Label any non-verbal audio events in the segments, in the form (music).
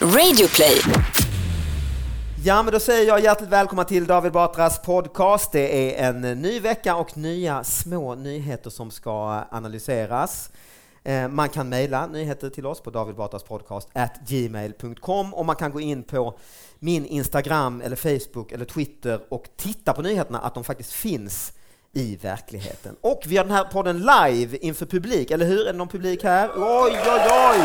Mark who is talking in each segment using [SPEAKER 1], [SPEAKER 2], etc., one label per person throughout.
[SPEAKER 1] Radioplay.
[SPEAKER 2] Ja, men då säger jag hjärtligt välkomna till David Batras podcast. Det är en ny vecka och nya små nyheter som ska analyseras. Eh, Man kan mejla nyheter till oss på davidbatraspodcast@gmail.com och man kan gå in på min Instagram eller Facebook eller Twitter och titta på nyheterna, att de faktiskt finns i verkligheten. Och vi har den här podden live inför publik, eller hur? Är det någon publik här? Oj, oj, oj!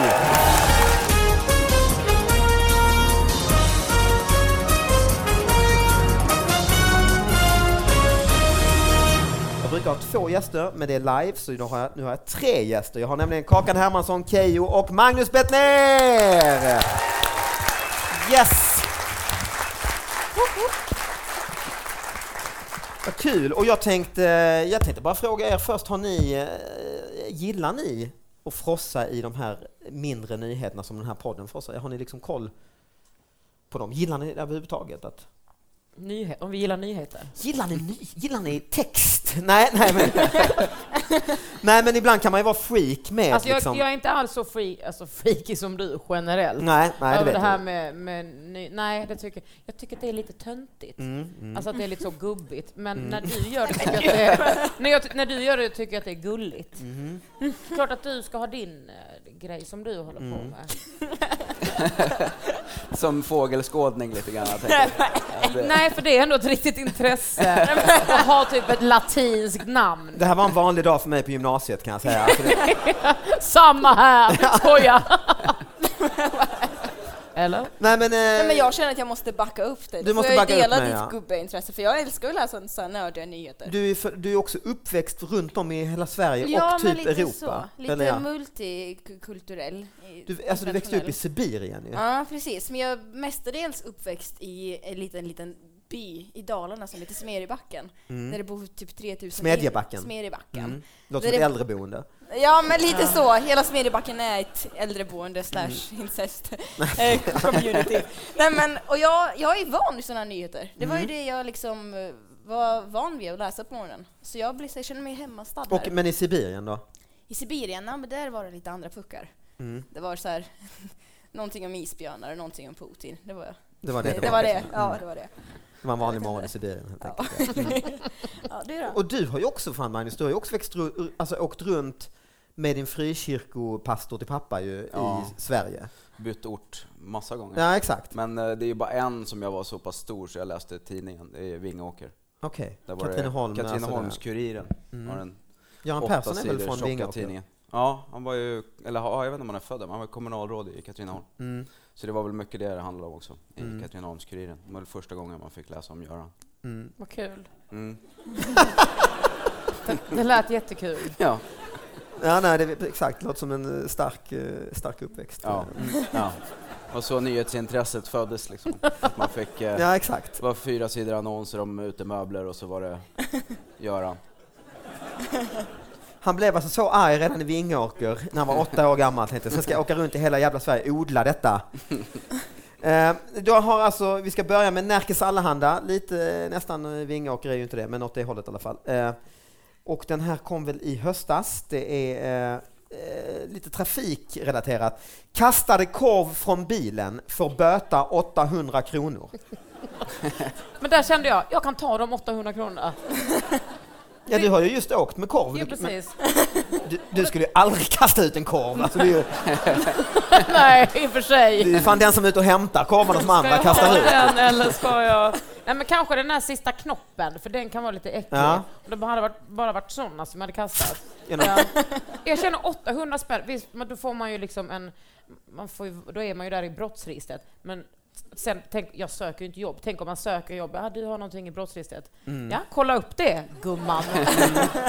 [SPEAKER 2] Jag brukar ha två gäster, men det är live, så nu har jag, nu har jag tre gäster. Jag har nämligen Kakan Hermansson, Kejo och Magnus Bettner! Yes! Vad kul! Och jag tänkte, jag tänkte bara fråga er först, har ni, eh, gillar ni att frossa i de här mindre nyheterna som den här podden frossar i? Har ni liksom koll på dem? Gillar ni det överhuvudtaget? Att
[SPEAKER 3] Nyhet, om vi gillar nyheter.
[SPEAKER 2] Gillar ni, ny, gillar ni text? Nej, nej,
[SPEAKER 4] (laughs)
[SPEAKER 2] men, nej, men ibland kan man ju vara freak med.
[SPEAKER 3] Alltså jag,
[SPEAKER 2] liksom.
[SPEAKER 3] jag är inte alls så free, alltså freaky som du generellt.
[SPEAKER 2] Nej, nej, det
[SPEAKER 3] Över
[SPEAKER 2] vet
[SPEAKER 3] det här
[SPEAKER 2] jag.
[SPEAKER 3] med, med ny, nej, det tycker, jag tycker att det är lite töntigt.
[SPEAKER 2] Mm, mm.
[SPEAKER 3] Alltså att det är lite så gubbigt. Men när du gör det tycker jag att
[SPEAKER 2] (laughs)
[SPEAKER 3] det är, när jag, ty- när du gör det tycker jag att det är gulligt.
[SPEAKER 2] Mhm.
[SPEAKER 3] Klart att du ska ha din eh, grej som du håller på
[SPEAKER 2] Mm.
[SPEAKER 3] med.
[SPEAKER 5] Som fågelskådning lite grann. jag tänker. Att det-
[SPEAKER 3] Nej, för det är ändå ett riktigt intresse
[SPEAKER 2] (laughs)
[SPEAKER 3] att ha typ ett latinskt namn.
[SPEAKER 2] Det här var en vanlig dag för mig på gymnasiet kan jag säga. Alltså det,
[SPEAKER 3] Samma här,
[SPEAKER 2] (laughs)
[SPEAKER 3] skoja! Eller?
[SPEAKER 2] nej, men, eh,
[SPEAKER 4] Nej, men jag känner att jag måste backa upp dig.
[SPEAKER 2] Du måste
[SPEAKER 4] får jag
[SPEAKER 2] backa upp
[SPEAKER 4] dela
[SPEAKER 2] mig,
[SPEAKER 4] ditt
[SPEAKER 2] ja.
[SPEAKER 4] gubbeintresse, för jag älskar att läsa sådana nördiga nyheter.
[SPEAKER 2] du, är för, du är också uppväxt runt om i hela Sverige och typ Europa.
[SPEAKER 4] så. Lite
[SPEAKER 2] Eller ja.
[SPEAKER 4] multikulturell. i-
[SPEAKER 2] du, alltså, du växte upp i
[SPEAKER 4] internationell.
[SPEAKER 2] Sibirien ju.
[SPEAKER 4] Ja, precis. Men jag är mestadels uppväxt i en liten, liten by i Dalarna som heter Smedjebacken. Där det bor typ 3000
[SPEAKER 2] Mm. Smedjebacken.
[SPEAKER 4] Smedjebacken.
[SPEAKER 2] Mm. Låter
[SPEAKER 4] Det
[SPEAKER 2] som ett
[SPEAKER 4] är-
[SPEAKER 2] äldreboende.
[SPEAKER 4] Ja, men lite så. Hela Smedjebacken är ett äldreboende slash
[SPEAKER 2] Mm.
[SPEAKER 4] incest
[SPEAKER 2] (laughs)
[SPEAKER 4] eh, community. Nej, men, och jag, jag är van vid sådana nyheter. Det var ju
[SPEAKER 2] Mm.
[SPEAKER 4] det jag liksom eh, var van vid att läsa på morgonen. Så jag, blir, så jag känner mig hemmastad
[SPEAKER 2] Och,
[SPEAKER 4] här.
[SPEAKER 2] men i Sibirien då?
[SPEAKER 4] I Sibirien, ja, men där var det lite andra puckar.
[SPEAKER 2] Mm.
[SPEAKER 4] Det var så här, (laughs) någonting om isbjörnar och någonting om Putin. Det var
[SPEAKER 2] Det var det. Mm.
[SPEAKER 4] det. det, var det. Ja, det var det.
[SPEAKER 2] Det var en vanlig morgon i Sibirien helt enkelt.
[SPEAKER 4] Ja. (laughs) ja, du då?
[SPEAKER 2] Mm. Och du har ju också, fan Magnus, du har ju också växt, ru- alltså, åkt runt med din frikyrkopastor till pappa ju
[SPEAKER 5] Ja.
[SPEAKER 2] i Sverige.
[SPEAKER 5] Bytt ort massa gånger.
[SPEAKER 2] Ja, exakt.
[SPEAKER 5] Men eh, det är ju bara en som jag var så pass stor så jag läste tidningen. Det är Vingåker.
[SPEAKER 2] Okej.
[SPEAKER 5] Där var det
[SPEAKER 2] Katrineholm. alltså,
[SPEAKER 5] Katrineholmskuriren.
[SPEAKER 2] där.
[SPEAKER 5] Har
[SPEAKER 2] mm.
[SPEAKER 5] en
[SPEAKER 2] Göran
[SPEAKER 5] åtta
[SPEAKER 2] Persson är väl
[SPEAKER 5] sidor
[SPEAKER 2] från
[SPEAKER 5] tjocka
[SPEAKER 2] Vingåker?
[SPEAKER 5] tidningen. Ja, han var ju, eller ja, jag vet inte om han är född där, men han var kommunalråd i Katrineholm.
[SPEAKER 2] Mm.
[SPEAKER 5] Så det var väl mycket det det handlade om också, i
[SPEAKER 2] Mm.
[SPEAKER 5] Katrineholmskuriren. Det var väl första gången man fick läsa om Göran.
[SPEAKER 2] Mm.
[SPEAKER 3] Vad kul.
[SPEAKER 5] Mm.
[SPEAKER 3] Det lät jättekul.
[SPEAKER 5] Ja.
[SPEAKER 2] Ja, nej, det, är- exakt. Låter som en eh, stark, eh, stark uppväxt.
[SPEAKER 5] Ja.
[SPEAKER 2] Mm.
[SPEAKER 5] ja. Och så nyhetsintresset föddes liksom. Att man fick eh,
[SPEAKER 2] ja, exakt.
[SPEAKER 5] Det var fyra sidor annonser om utemöbler och så
[SPEAKER 3] (laughs)
[SPEAKER 5] var det Göran.
[SPEAKER 2] Han blev alltså så arg redan i Vingåker när han var åtta år gammal. Tänkte, sen ska jag åka runt i hela jävla Sverige och odla (laughs) detta. Eh, du har alltså, vi ska börja med Närkes Allehanda, lite eh, nästan eh, Vingåker är ju inte det, men åt det hållet i alla fall. Eh, och den här kom väl i höstas. Det är eh, eh, lite trafikrelaterat. Kastade korv från bilen får böta 800 kronor.
[SPEAKER 3] Men där kände jag, jag kan ta de 800 kronorna.
[SPEAKER 2] Ja, du har ju just åkt med korv.
[SPEAKER 3] Ja,
[SPEAKER 2] Du, men
[SPEAKER 3] precis.
[SPEAKER 2] du, du skulle ju aldrig kasta ut en korv. Alltså, det är ju,
[SPEAKER 3] (laughs) Nej, i och för
[SPEAKER 2] Det är
[SPEAKER 3] sig.
[SPEAKER 2] ju fan den som är ute och hämtar korvarna som
[SPEAKER 3] Ska
[SPEAKER 2] andra
[SPEAKER 3] jag ha
[SPEAKER 2] kastar ut.
[SPEAKER 3] den eller ska jag... Nej, men kanske den här sista knoppen, för den kan vara lite äcklig.
[SPEAKER 2] Ja.
[SPEAKER 3] Och det hade varit, bara varit sådana som jag hade kastat.
[SPEAKER 2] Genom-
[SPEAKER 3] Jag känner 800 spänn, visst, men då får man ju liksom en... Man får ju, då är man ju där i brottsregistret. Men sen, tänk, jag söker ju inte jobb. Tänk om man söker jobb. Ja, du har någonting i brottsregistret.
[SPEAKER 2] Mm.
[SPEAKER 3] Ja, kolla upp det, gumman.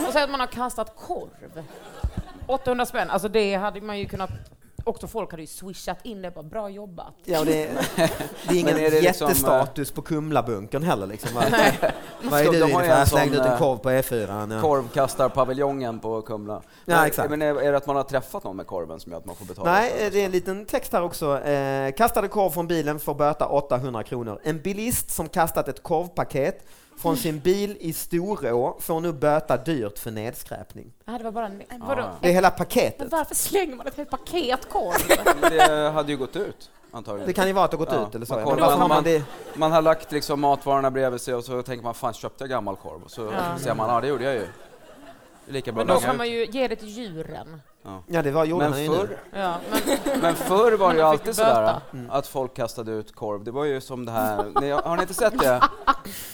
[SPEAKER 3] Och sen att man har kastat korv. 800 spänn, alltså det hade man ju kunnat... Också folk hade ju swishat in det, bara bra jobbat.
[SPEAKER 2] Ja, och det, är, det är ingen
[SPEAKER 5] Men är det liksom,
[SPEAKER 2] jättestatus på Kumlabunkern heller. Liksom. Vad, vad är
[SPEAKER 5] De
[SPEAKER 2] du
[SPEAKER 5] har
[SPEAKER 2] inne för?
[SPEAKER 5] ju en
[SPEAKER 2] Jag slängde ut
[SPEAKER 5] sån,
[SPEAKER 2] en
[SPEAKER 5] eh,
[SPEAKER 2] korv på E4. Ja.
[SPEAKER 5] Korvkastarpaviljongen på Kumla.
[SPEAKER 2] Ja,
[SPEAKER 5] Men-
[SPEAKER 2] exakt.
[SPEAKER 5] Men är, är det att man har träffat någon med korven som gör att man får betala? för
[SPEAKER 2] Nej, eh, det är en liten text här också. Eh, kastade korv från bilen får böta 800 kronor. En bilist som kastat ett korvpaket från sin bil i Storå får nu böta dyrt för nedskräpning.
[SPEAKER 3] Nej, det var bara en...
[SPEAKER 5] Ja.
[SPEAKER 3] Vadå?
[SPEAKER 2] Det är hela
[SPEAKER 3] Men
[SPEAKER 2] paketet.
[SPEAKER 5] (laughs)
[SPEAKER 3] varför slänger man ett helt paket korv?
[SPEAKER 5] Men Det hade ju gått ut. antagligen.
[SPEAKER 2] Det kan ju vara att det har gått
[SPEAKER 5] Ja,
[SPEAKER 2] ut eller så.
[SPEAKER 5] man
[SPEAKER 2] ja.
[SPEAKER 5] kollar
[SPEAKER 2] Men varför
[SPEAKER 5] om
[SPEAKER 2] har man
[SPEAKER 5] man-
[SPEAKER 2] det?
[SPEAKER 5] Man har lagt liksom matvarorna bredvid sig och så tänker man, fan köpte jag gammal korv? Och så
[SPEAKER 3] Ja.
[SPEAKER 5] ser man, ja det gjorde jag ju. Det är Lika bra
[SPEAKER 3] Men då
[SPEAKER 5] att
[SPEAKER 3] kan
[SPEAKER 5] langa
[SPEAKER 3] man
[SPEAKER 5] ut.
[SPEAKER 3] ju ge det till djuren.
[SPEAKER 2] Ja, det var gjorde
[SPEAKER 5] Men
[SPEAKER 2] han ju nu.
[SPEAKER 5] förr,
[SPEAKER 3] Ja, men
[SPEAKER 5] men förr var det ju
[SPEAKER 3] Man fick
[SPEAKER 5] alltid sådär
[SPEAKER 3] böta.
[SPEAKER 2] Mm.
[SPEAKER 5] att folk kastade ut korv. Det var ju som det här, ni, har ni inte sett det?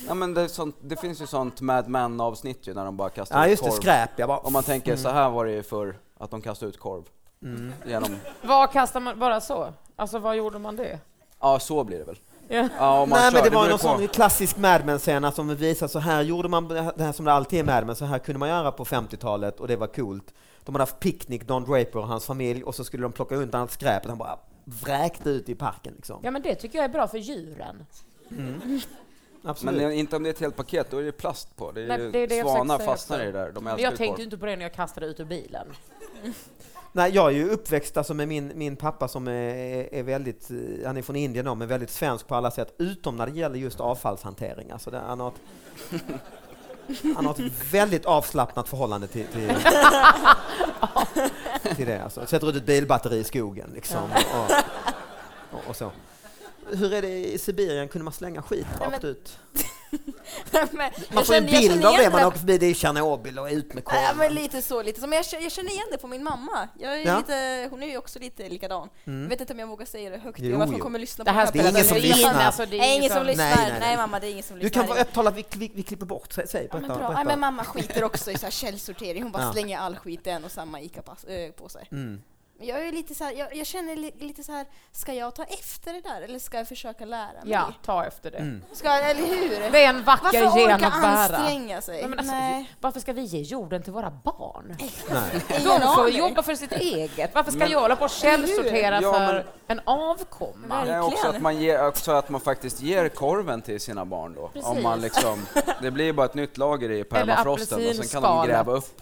[SPEAKER 5] Ja, men det, är sånt, det finns ju sånt Mad Men avsnitt ju när de bara kastar
[SPEAKER 2] Ja,
[SPEAKER 5] ut
[SPEAKER 2] just det.
[SPEAKER 5] korv.
[SPEAKER 2] Skräp. Jag bara...
[SPEAKER 5] Om man tänker, så här var det ju förr, att de kastade ut korv.
[SPEAKER 2] Mm.
[SPEAKER 5] Genom,
[SPEAKER 3] vad kastar man bara så? Alltså, vad gjorde man det?
[SPEAKER 5] ja så blir det väl.
[SPEAKER 3] Ja.
[SPEAKER 5] Ja, om man
[SPEAKER 2] Nej,
[SPEAKER 5] kör,
[SPEAKER 2] men det var
[SPEAKER 5] beror
[SPEAKER 2] någon
[SPEAKER 5] på.
[SPEAKER 2] sån klassisk Mad Men-scen som visar så här gjorde man, det här som det alltid är Mad Men, så här kunde man göra på 50-talet och det var coolt. De hade haft picknick, Don Draper och hans familj, och så skulle de plocka undan allt skräpet. Han bara vräkte ut i parken liksom.
[SPEAKER 3] ja, men det tycker jag är bra för djuren.
[SPEAKER 2] Absolut.
[SPEAKER 5] Men det, är inte om det är ett helt paket, då är det plast på. Det är
[SPEAKER 3] Nej,
[SPEAKER 5] ju
[SPEAKER 3] det är det jag försöker
[SPEAKER 5] svanar
[SPEAKER 3] säga
[SPEAKER 5] fastnar i det där. De
[SPEAKER 3] Men
[SPEAKER 5] älskar
[SPEAKER 3] jag
[SPEAKER 5] ju
[SPEAKER 3] tänkte
[SPEAKER 5] korv.
[SPEAKER 3] ju inte på det när jag kastade ut ur bilen.
[SPEAKER 2] Nej, jag är ju uppväxt alltså, med min, min pappa som är, är väldigt, eh, han är från Indien då, men väldigt svensk på alla sätt, utom när det gäller just avfallshantering. Alltså, det, han, har ett, han har ett väldigt avslappnat förhållande till, till, till det. Alltså. Sätter ut ett bilbatteri i skogen liksom. Och, och, och så. Hur är det i Sibirien, kunde man slänga skit
[SPEAKER 4] men-
[SPEAKER 2] rakt ut?
[SPEAKER 4] (laughs) Men
[SPEAKER 2] Man
[SPEAKER 4] jag
[SPEAKER 2] får en
[SPEAKER 4] känner- jag
[SPEAKER 2] bild
[SPEAKER 4] känner
[SPEAKER 2] av det,
[SPEAKER 4] igen
[SPEAKER 2] man åker förbi, det är Tjernobyl och ut med
[SPEAKER 4] Ja, Äh, men
[SPEAKER 2] korven.
[SPEAKER 4] lite så, lite så. Men jag, känner- jag känner igen det på min mamma. Jag är
[SPEAKER 2] Ja.
[SPEAKER 4] lite, hon är ju också lite likadan.
[SPEAKER 2] Mm.
[SPEAKER 4] Jag vet inte om jag vågar säga det högt,
[SPEAKER 2] Jo,
[SPEAKER 4] jo, varför hon
[SPEAKER 2] jo.
[SPEAKER 4] kommer lyssna
[SPEAKER 3] Det
[SPEAKER 4] på
[SPEAKER 3] här
[SPEAKER 2] Det är ingen som
[SPEAKER 4] podden.
[SPEAKER 2] lyssnar.
[SPEAKER 3] Alltså, det är
[SPEAKER 4] Nej,
[SPEAKER 3] ingen
[SPEAKER 4] ingen som
[SPEAKER 3] som-
[SPEAKER 4] lyssnar.
[SPEAKER 2] Nej,
[SPEAKER 4] Nej,
[SPEAKER 2] nej, nej.
[SPEAKER 4] mamma, det är ingen som
[SPEAKER 2] Du
[SPEAKER 4] lyssnar.
[SPEAKER 2] kan vara öpptalad, vi, vi, vi klipper bort. Säg, säg
[SPEAKER 4] Ja, men,
[SPEAKER 2] berätta,
[SPEAKER 4] bra.
[SPEAKER 2] berätta.
[SPEAKER 4] Ja, men mamma skiter också i så här källsortering. Hon bara
[SPEAKER 2] Ja.
[SPEAKER 4] slänger all skit i en och samma ICA-påse.
[SPEAKER 2] Mm.
[SPEAKER 4] Men jag, är lite så här, jag, jag känner li, lite så här, ska jag ta efter det där eller ska jag försöka lära mig?
[SPEAKER 3] Ja, ta efter det.
[SPEAKER 5] Mm.
[SPEAKER 4] Ska, jag- eller hur?
[SPEAKER 3] Det är en vacker
[SPEAKER 4] Varför
[SPEAKER 3] gen
[SPEAKER 4] orka
[SPEAKER 3] att bära.
[SPEAKER 4] anstränga sig?
[SPEAKER 3] Nej, men alltså,
[SPEAKER 4] Nej,
[SPEAKER 3] Varför ska vi ge jorden till våra barn?
[SPEAKER 2] Nej.
[SPEAKER 4] ingen
[SPEAKER 3] De får
[SPEAKER 4] aning.
[SPEAKER 3] jobba för sitt eget. Varför ska
[SPEAKER 5] Men-
[SPEAKER 3] jag hålla på och källsortera
[SPEAKER 5] Ja,
[SPEAKER 3] för
[SPEAKER 5] men-
[SPEAKER 3] en avkomma?
[SPEAKER 4] Nej.
[SPEAKER 5] Nej, också
[SPEAKER 4] Verkligen.
[SPEAKER 5] att, man ger, också att man faktiskt ger korven till sina barn då. Om man liksom, det blir bara ett nytt lager i permafrosten och sen kan de
[SPEAKER 3] apelsinskalet.
[SPEAKER 5] gräva upp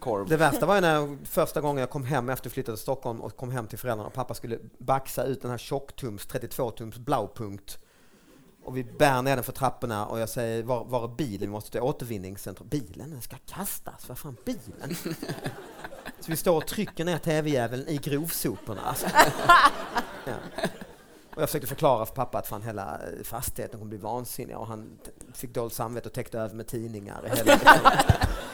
[SPEAKER 5] korv.
[SPEAKER 2] Det värsta var ju när jag, första gången jag kom hem efter jag flyttade till Stockholm och kom hem till föräldrarna och pappa skulle baxa ut den här tjocktums, 32-tums blaupunkt. Och vi bär ner den för trapporna och jag säger var, var är bilen? Vi måste till återvinningscentrum. Bilen? Den ska kastas. Vad fan, bilen? (laughs) Så vi står och trycker ner tv-djävulen i grovsoporna. (laughs) Alltså. Ja. Och jag försökte förklara för pappa att fan hela eh, fastigheten kommer bli vansinnig och han t- fick dåligt samvete och täckte över med tidningar. i Hela,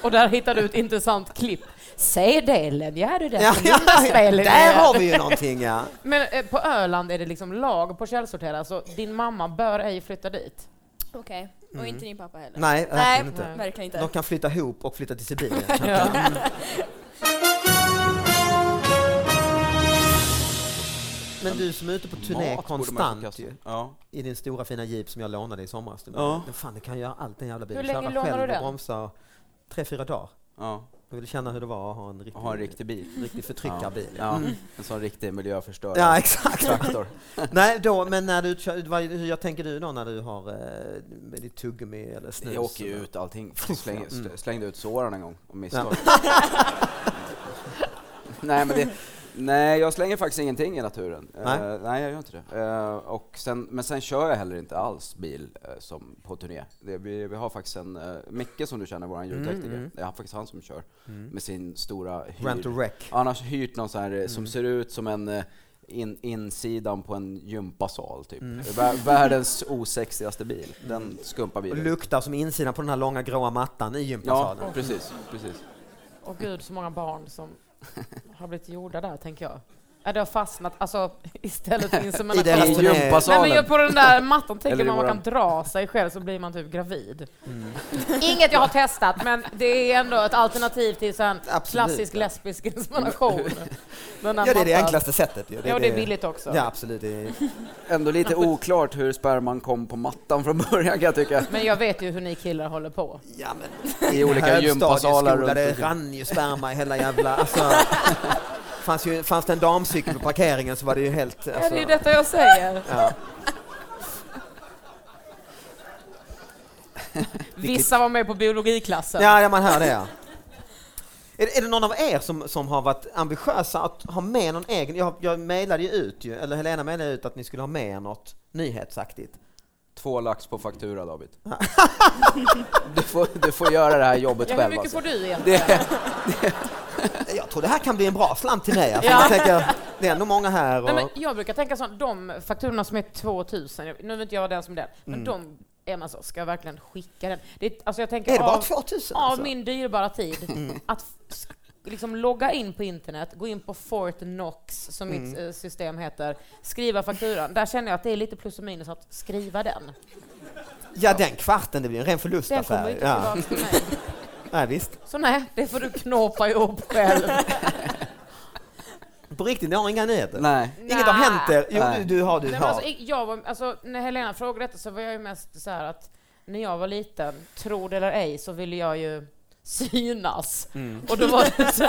[SPEAKER 3] Och där hittar du ett intressant klipp. Säg det Ellen, ja det är
[SPEAKER 2] Ja,
[SPEAKER 3] där som
[SPEAKER 2] ja, ja.
[SPEAKER 3] Lindaspelet
[SPEAKER 2] Där
[SPEAKER 3] är.
[SPEAKER 2] har vi ju någonting ja.
[SPEAKER 3] Men eh, på Öland är det liksom lag på källsortera, så din mamma bör ej flytta dit.
[SPEAKER 4] Okej, och
[SPEAKER 2] Mm.
[SPEAKER 4] inte din pappa heller?
[SPEAKER 2] Nej, verkligen inte.
[SPEAKER 3] Nej.
[SPEAKER 4] verkligen inte.
[SPEAKER 2] De kan flytta ihop och flytta till Sibirien.
[SPEAKER 5] (laughs)
[SPEAKER 2] Men du som är ute på turné
[SPEAKER 5] Mat borde man ju
[SPEAKER 2] konstant
[SPEAKER 5] förkasta.
[SPEAKER 2] ju,
[SPEAKER 5] Ja.
[SPEAKER 2] i din stora fina jeep som jag lånade i somras. Du
[SPEAKER 5] Ja.
[SPEAKER 2] Men fan, det kan göra allt den jävla bilen.
[SPEAKER 3] Hur länge
[SPEAKER 2] Köra
[SPEAKER 3] lånade
[SPEAKER 2] själv
[SPEAKER 3] du den?
[SPEAKER 2] och bromsa och- tre, fyra dagar.
[SPEAKER 5] Ja,
[SPEAKER 2] Jag ville känna hur det var att ha en riktig,
[SPEAKER 5] och ha en riktig bil.
[SPEAKER 2] riktig förtryckarbil. Ja.
[SPEAKER 5] Ja, en sån riktig miljöförstörare.
[SPEAKER 2] Mm.
[SPEAKER 5] (laughs)
[SPEAKER 2] Ja, exakt.
[SPEAKER 5] Traktor.
[SPEAKER 2] Nej, då, men när du kör, vad, hur jag tänker du då när du har eh, med ditt tuggummi eller snus?
[SPEAKER 5] Jag åker ju ut allting. Släng, sl- Slängde ut såren en gång om misstag. (laughs) nej, men det, nej, jag slänger faktiskt ingenting i naturen. Eh,
[SPEAKER 2] Nej.
[SPEAKER 5] nej jag gör inte det. Eh, och sen, men sen kör jag heller inte alls bil eh, som på turné. Det, vi, vi har faktiskt en, eh, Micke som du känner, vår ljudtekniker, det är faktiskt han som kör med sin stora
[SPEAKER 2] Mm. Rent
[SPEAKER 5] hyr.
[SPEAKER 2] to wreck.
[SPEAKER 5] Han har hyrt någon sån här eh, som ser ut som en eh, in, insidan på en gympasal typ. Vär, världens osexigaste bil. Den skumpa
[SPEAKER 2] Och
[SPEAKER 5] bilen.
[SPEAKER 2] luktar som insidan på den här långa gråa mattan i
[SPEAKER 5] Ja,
[SPEAKER 2] gympasalen.
[SPEAKER 5] precis. precis.
[SPEAKER 3] Och gud så många barn som har blivit gjorda där, tänker jag. Ja, det har fastnat, alltså (laughs) istället för
[SPEAKER 2] I
[SPEAKER 3] insemination.
[SPEAKER 2] deras typ
[SPEAKER 5] I
[SPEAKER 2] turné.
[SPEAKER 3] Nej, men ju
[SPEAKER 5] gympasalen.
[SPEAKER 3] på den där mattan tänker
[SPEAKER 5] Eller i
[SPEAKER 3] man man
[SPEAKER 5] våran-
[SPEAKER 3] kan dra sig själv så blir man typ gravid. Mm. Inget jag har testat, men det är ändå ett alternativ till så här en
[SPEAKER 2] Absolut,
[SPEAKER 3] klassisk
[SPEAKER 2] ja.
[SPEAKER 3] lesbisk insemination.
[SPEAKER 2] (laughs)
[SPEAKER 3] Den där
[SPEAKER 2] Ja, det är det
[SPEAKER 3] mattan.
[SPEAKER 2] enklaste sättet. Ju.
[SPEAKER 3] Ja, och det är billigt också.
[SPEAKER 2] Ja, absolut. Det är,
[SPEAKER 5] Ändå lite oklart hur sperman kom på mattan från början kan jag tycka.
[SPEAKER 3] Men jag vet ju hur ni killar håller på.
[SPEAKER 2] ja, men,
[SPEAKER 5] I olika
[SPEAKER 2] högstadieskola,
[SPEAKER 5] gympasalar runt
[SPEAKER 2] det
[SPEAKER 5] omkring.
[SPEAKER 2] rann ju sperma i hela jävla... Alltså,
[SPEAKER 5] (laughs)
[SPEAKER 2] fanns, ju, fanns det en damcykel på parkeringen så var det ju helt... Alltså,
[SPEAKER 3] Ja, det är ju detta jag säger.
[SPEAKER 2] ja.
[SPEAKER 3] (laughs) Vissa var med på biologiklassen.
[SPEAKER 2] Ja, ja, man hör det ja. Är, det- är det någon av er som, som har varit ambitiösa att ha med någon egen? Jag, jag mejlade ju ut ju, eller Helena mejlade ut att ni skulle ha med er något nyhetsaktigt.
[SPEAKER 5] Två lax på faktura David. (laughs) Du får, du får göra det här jobbet
[SPEAKER 3] Ja, hur
[SPEAKER 5] själv
[SPEAKER 3] mycket
[SPEAKER 5] alltså.
[SPEAKER 3] får du egentligen?
[SPEAKER 5] Det,
[SPEAKER 2] Jag tror det här kan bli en bra slant till mig. Alltså.
[SPEAKER 3] Ja.
[SPEAKER 2] Jag tänker, det är ändå många här. Och...
[SPEAKER 3] Nej, men jag brukar tänka så, de fakturorna som är 2000, jag- nu vill inte jag vara den som är den, men
[SPEAKER 2] Mm.
[SPEAKER 3] de är man så, ska jag verkligen skicka den? Det, är- alltså jag tänker,
[SPEAKER 2] är det bara
[SPEAKER 3] av-
[SPEAKER 2] 2000?
[SPEAKER 3] av
[SPEAKER 2] alltså? Mm.
[SPEAKER 3] min dyrbara tid att f- sk- liksom logga in på internet, gå in på Fortnox som mitt
[SPEAKER 2] Mm.
[SPEAKER 3] eh, system heter, skriva fakturan. Där känner jag att det är lite plus och minus att skriva den.
[SPEAKER 2] Ja, den kvarten, det blir en ren
[SPEAKER 3] Den kommer
[SPEAKER 2] förlustaffär.
[SPEAKER 3] ju inte
[SPEAKER 2] Ja.
[SPEAKER 3] tillbaka till mig.
[SPEAKER 2] Nej, visst.
[SPEAKER 3] Så nej, det får du knåpa ihop själv.
[SPEAKER 2] På riktigt, ni har inga nyheter?
[SPEAKER 5] Nej.
[SPEAKER 2] (laughs) Inget har hänt er? Jo,
[SPEAKER 5] Nej.
[SPEAKER 2] du, du har, du
[SPEAKER 3] Nej,
[SPEAKER 2] har.
[SPEAKER 3] men alltså, i- jag var, alltså, när Helena frågade detta så var jag ju mest så här att när jag var liten, tro det eller ej, så ville jag ju synas.
[SPEAKER 2] Mm.
[SPEAKER 3] Och då var
[SPEAKER 2] (laughs)
[SPEAKER 3] det så,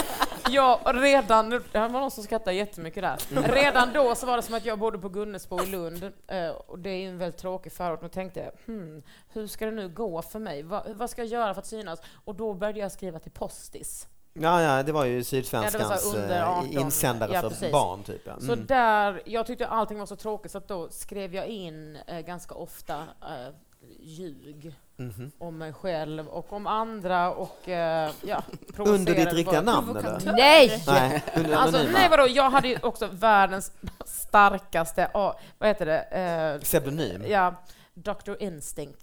[SPEAKER 3] jag redan, det här var någon som skrattade jättemycket där.
[SPEAKER 2] Mm.
[SPEAKER 3] Redan då så var det som att jag bodde på Gunnesbo i Lund eh, och det är ju en väldigt tråkig förort. Och tänkte jag, hmm, hur ska det nu gå för mig? Va, vad ska jag göra för att synas? Och då började jag skriva till Postis.
[SPEAKER 2] Ja, ja, det var ju
[SPEAKER 3] Ja, det var
[SPEAKER 2] Sydsvenskans
[SPEAKER 3] så här under
[SPEAKER 2] eh,
[SPEAKER 3] 18.
[SPEAKER 2] insändare
[SPEAKER 3] Ja,
[SPEAKER 2] för
[SPEAKER 3] precis.
[SPEAKER 2] barn, typ. Ja.
[SPEAKER 3] Så
[SPEAKER 2] Mm.
[SPEAKER 3] där, jag tyckte allting var så tråkigt så att då skrev jag in eh, ganska ofta eh, ljug
[SPEAKER 2] Mhm.
[SPEAKER 3] om mig själv och om andra och eh,
[SPEAKER 2] (laughs)
[SPEAKER 3] ja,
[SPEAKER 2] Under ditt
[SPEAKER 3] provocerade
[SPEAKER 2] riktiga
[SPEAKER 3] folk.
[SPEAKER 2] namn, eller?
[SPEAKER 4] Provokatör.
[SPEAKER 3] Nej! (laughs)
[SPEAKER 2] Nej, under
[SPEAKER 3] Alltså,
[SPEAKER 2] anonyma.
[SPEAKER 3] nej vadå, jag hade ju också världens starkaste, ah, vad heter det, eh,
[SPEAKER 2] Pseudonym.
[SPEAKER 3] ja, Dr Instinct.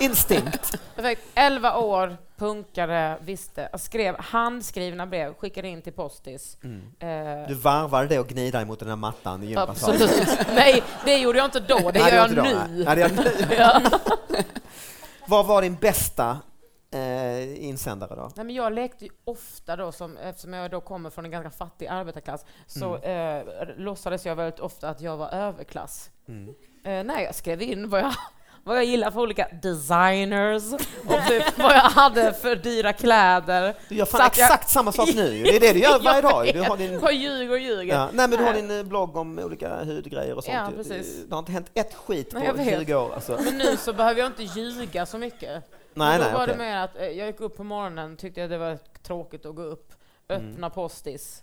[SPEAKER 2] Instinkt.
[SPEAKER 3] Jag var 11 år, punkare, visste, jag skrev handskrivna brev, skickade in till Postis. Eh,
[SPEAKER 2] Mm. Du varvar det och gnider emot den här mattan i gympasalen.
[SPEAKER 3] Absolut. Nej, det gjorde jag inte då. Det
[SPEAKER 2] Nej,
[SPEAKER 3] gör
[SPEAKER 2] var
[SPEAKER 3] jag
[SPEAKER 2] inte då,
[SPEAKER 3] nu.
[SPEAKER 2] nej. Nej, det gör jag nu.
[SPEAKER 3] Ja.
[SPEAKER 2] Vad var din bästa eh, insändare då?
[SPEAKER 3] Nej, men jag lekte ju ofta då, som, eftersom jag då kommer från en ganska fattig arbetarklass, så
[SPEAKER 2] Mm.
[SPEAKER 3] eh, låtsades jag väldigt ofta att jag var överklass. Eh, nej, jag skrev in vad jag, (laughs) vad jag gillar för olika
[SPEAKER 2] (laughs)
[SPEAKER 3] designers och typ vad jag hade för dyra kläder.
[SPEAKER 2] Du gör fan
[SPEAKER 3] Satt jag-
[SPEAKER 2] exakt samma sak nu. Det är det du gör varje
[SPEAKER 3] (laughs) Jag
[SPEAKER 2] dag. Du har
[SPEAKER 3] vet,
[SPEAKER 2] din,
[SPEAKER 3] Jag ljuger och ljuger.
[SPEAKER 2] ja. Nej, men du har din eh, blogg om olika hudgrejer och sånt.
[SPEAKER 3] Ja,
[SPEAKER 2] ju.
[SPEAKER 3] precis.
[SPEAKER 2] Det har inte hänt ett skit på
[SPEAKER 3] Nej, jag vet.
[SPEAKER 2] 20 år. Alltså.
[SPEAKER 3] (laughs) Men nu så behöver jag inte ljuga så mycket.
[SPEAKER 2] Nej,
[SPEAKER 3] Men då
[SPEAKER 2] nej,
[SPEAKER 3] var
[SPEAKER 2] okej.
[SPEAKER 3] det mer att eh, jag gick upp på morgonen, tyckte jag det var tråkigt att gå upp, öppna
[SPEAKER 2] Mm.
[SPEAKER 3] postis.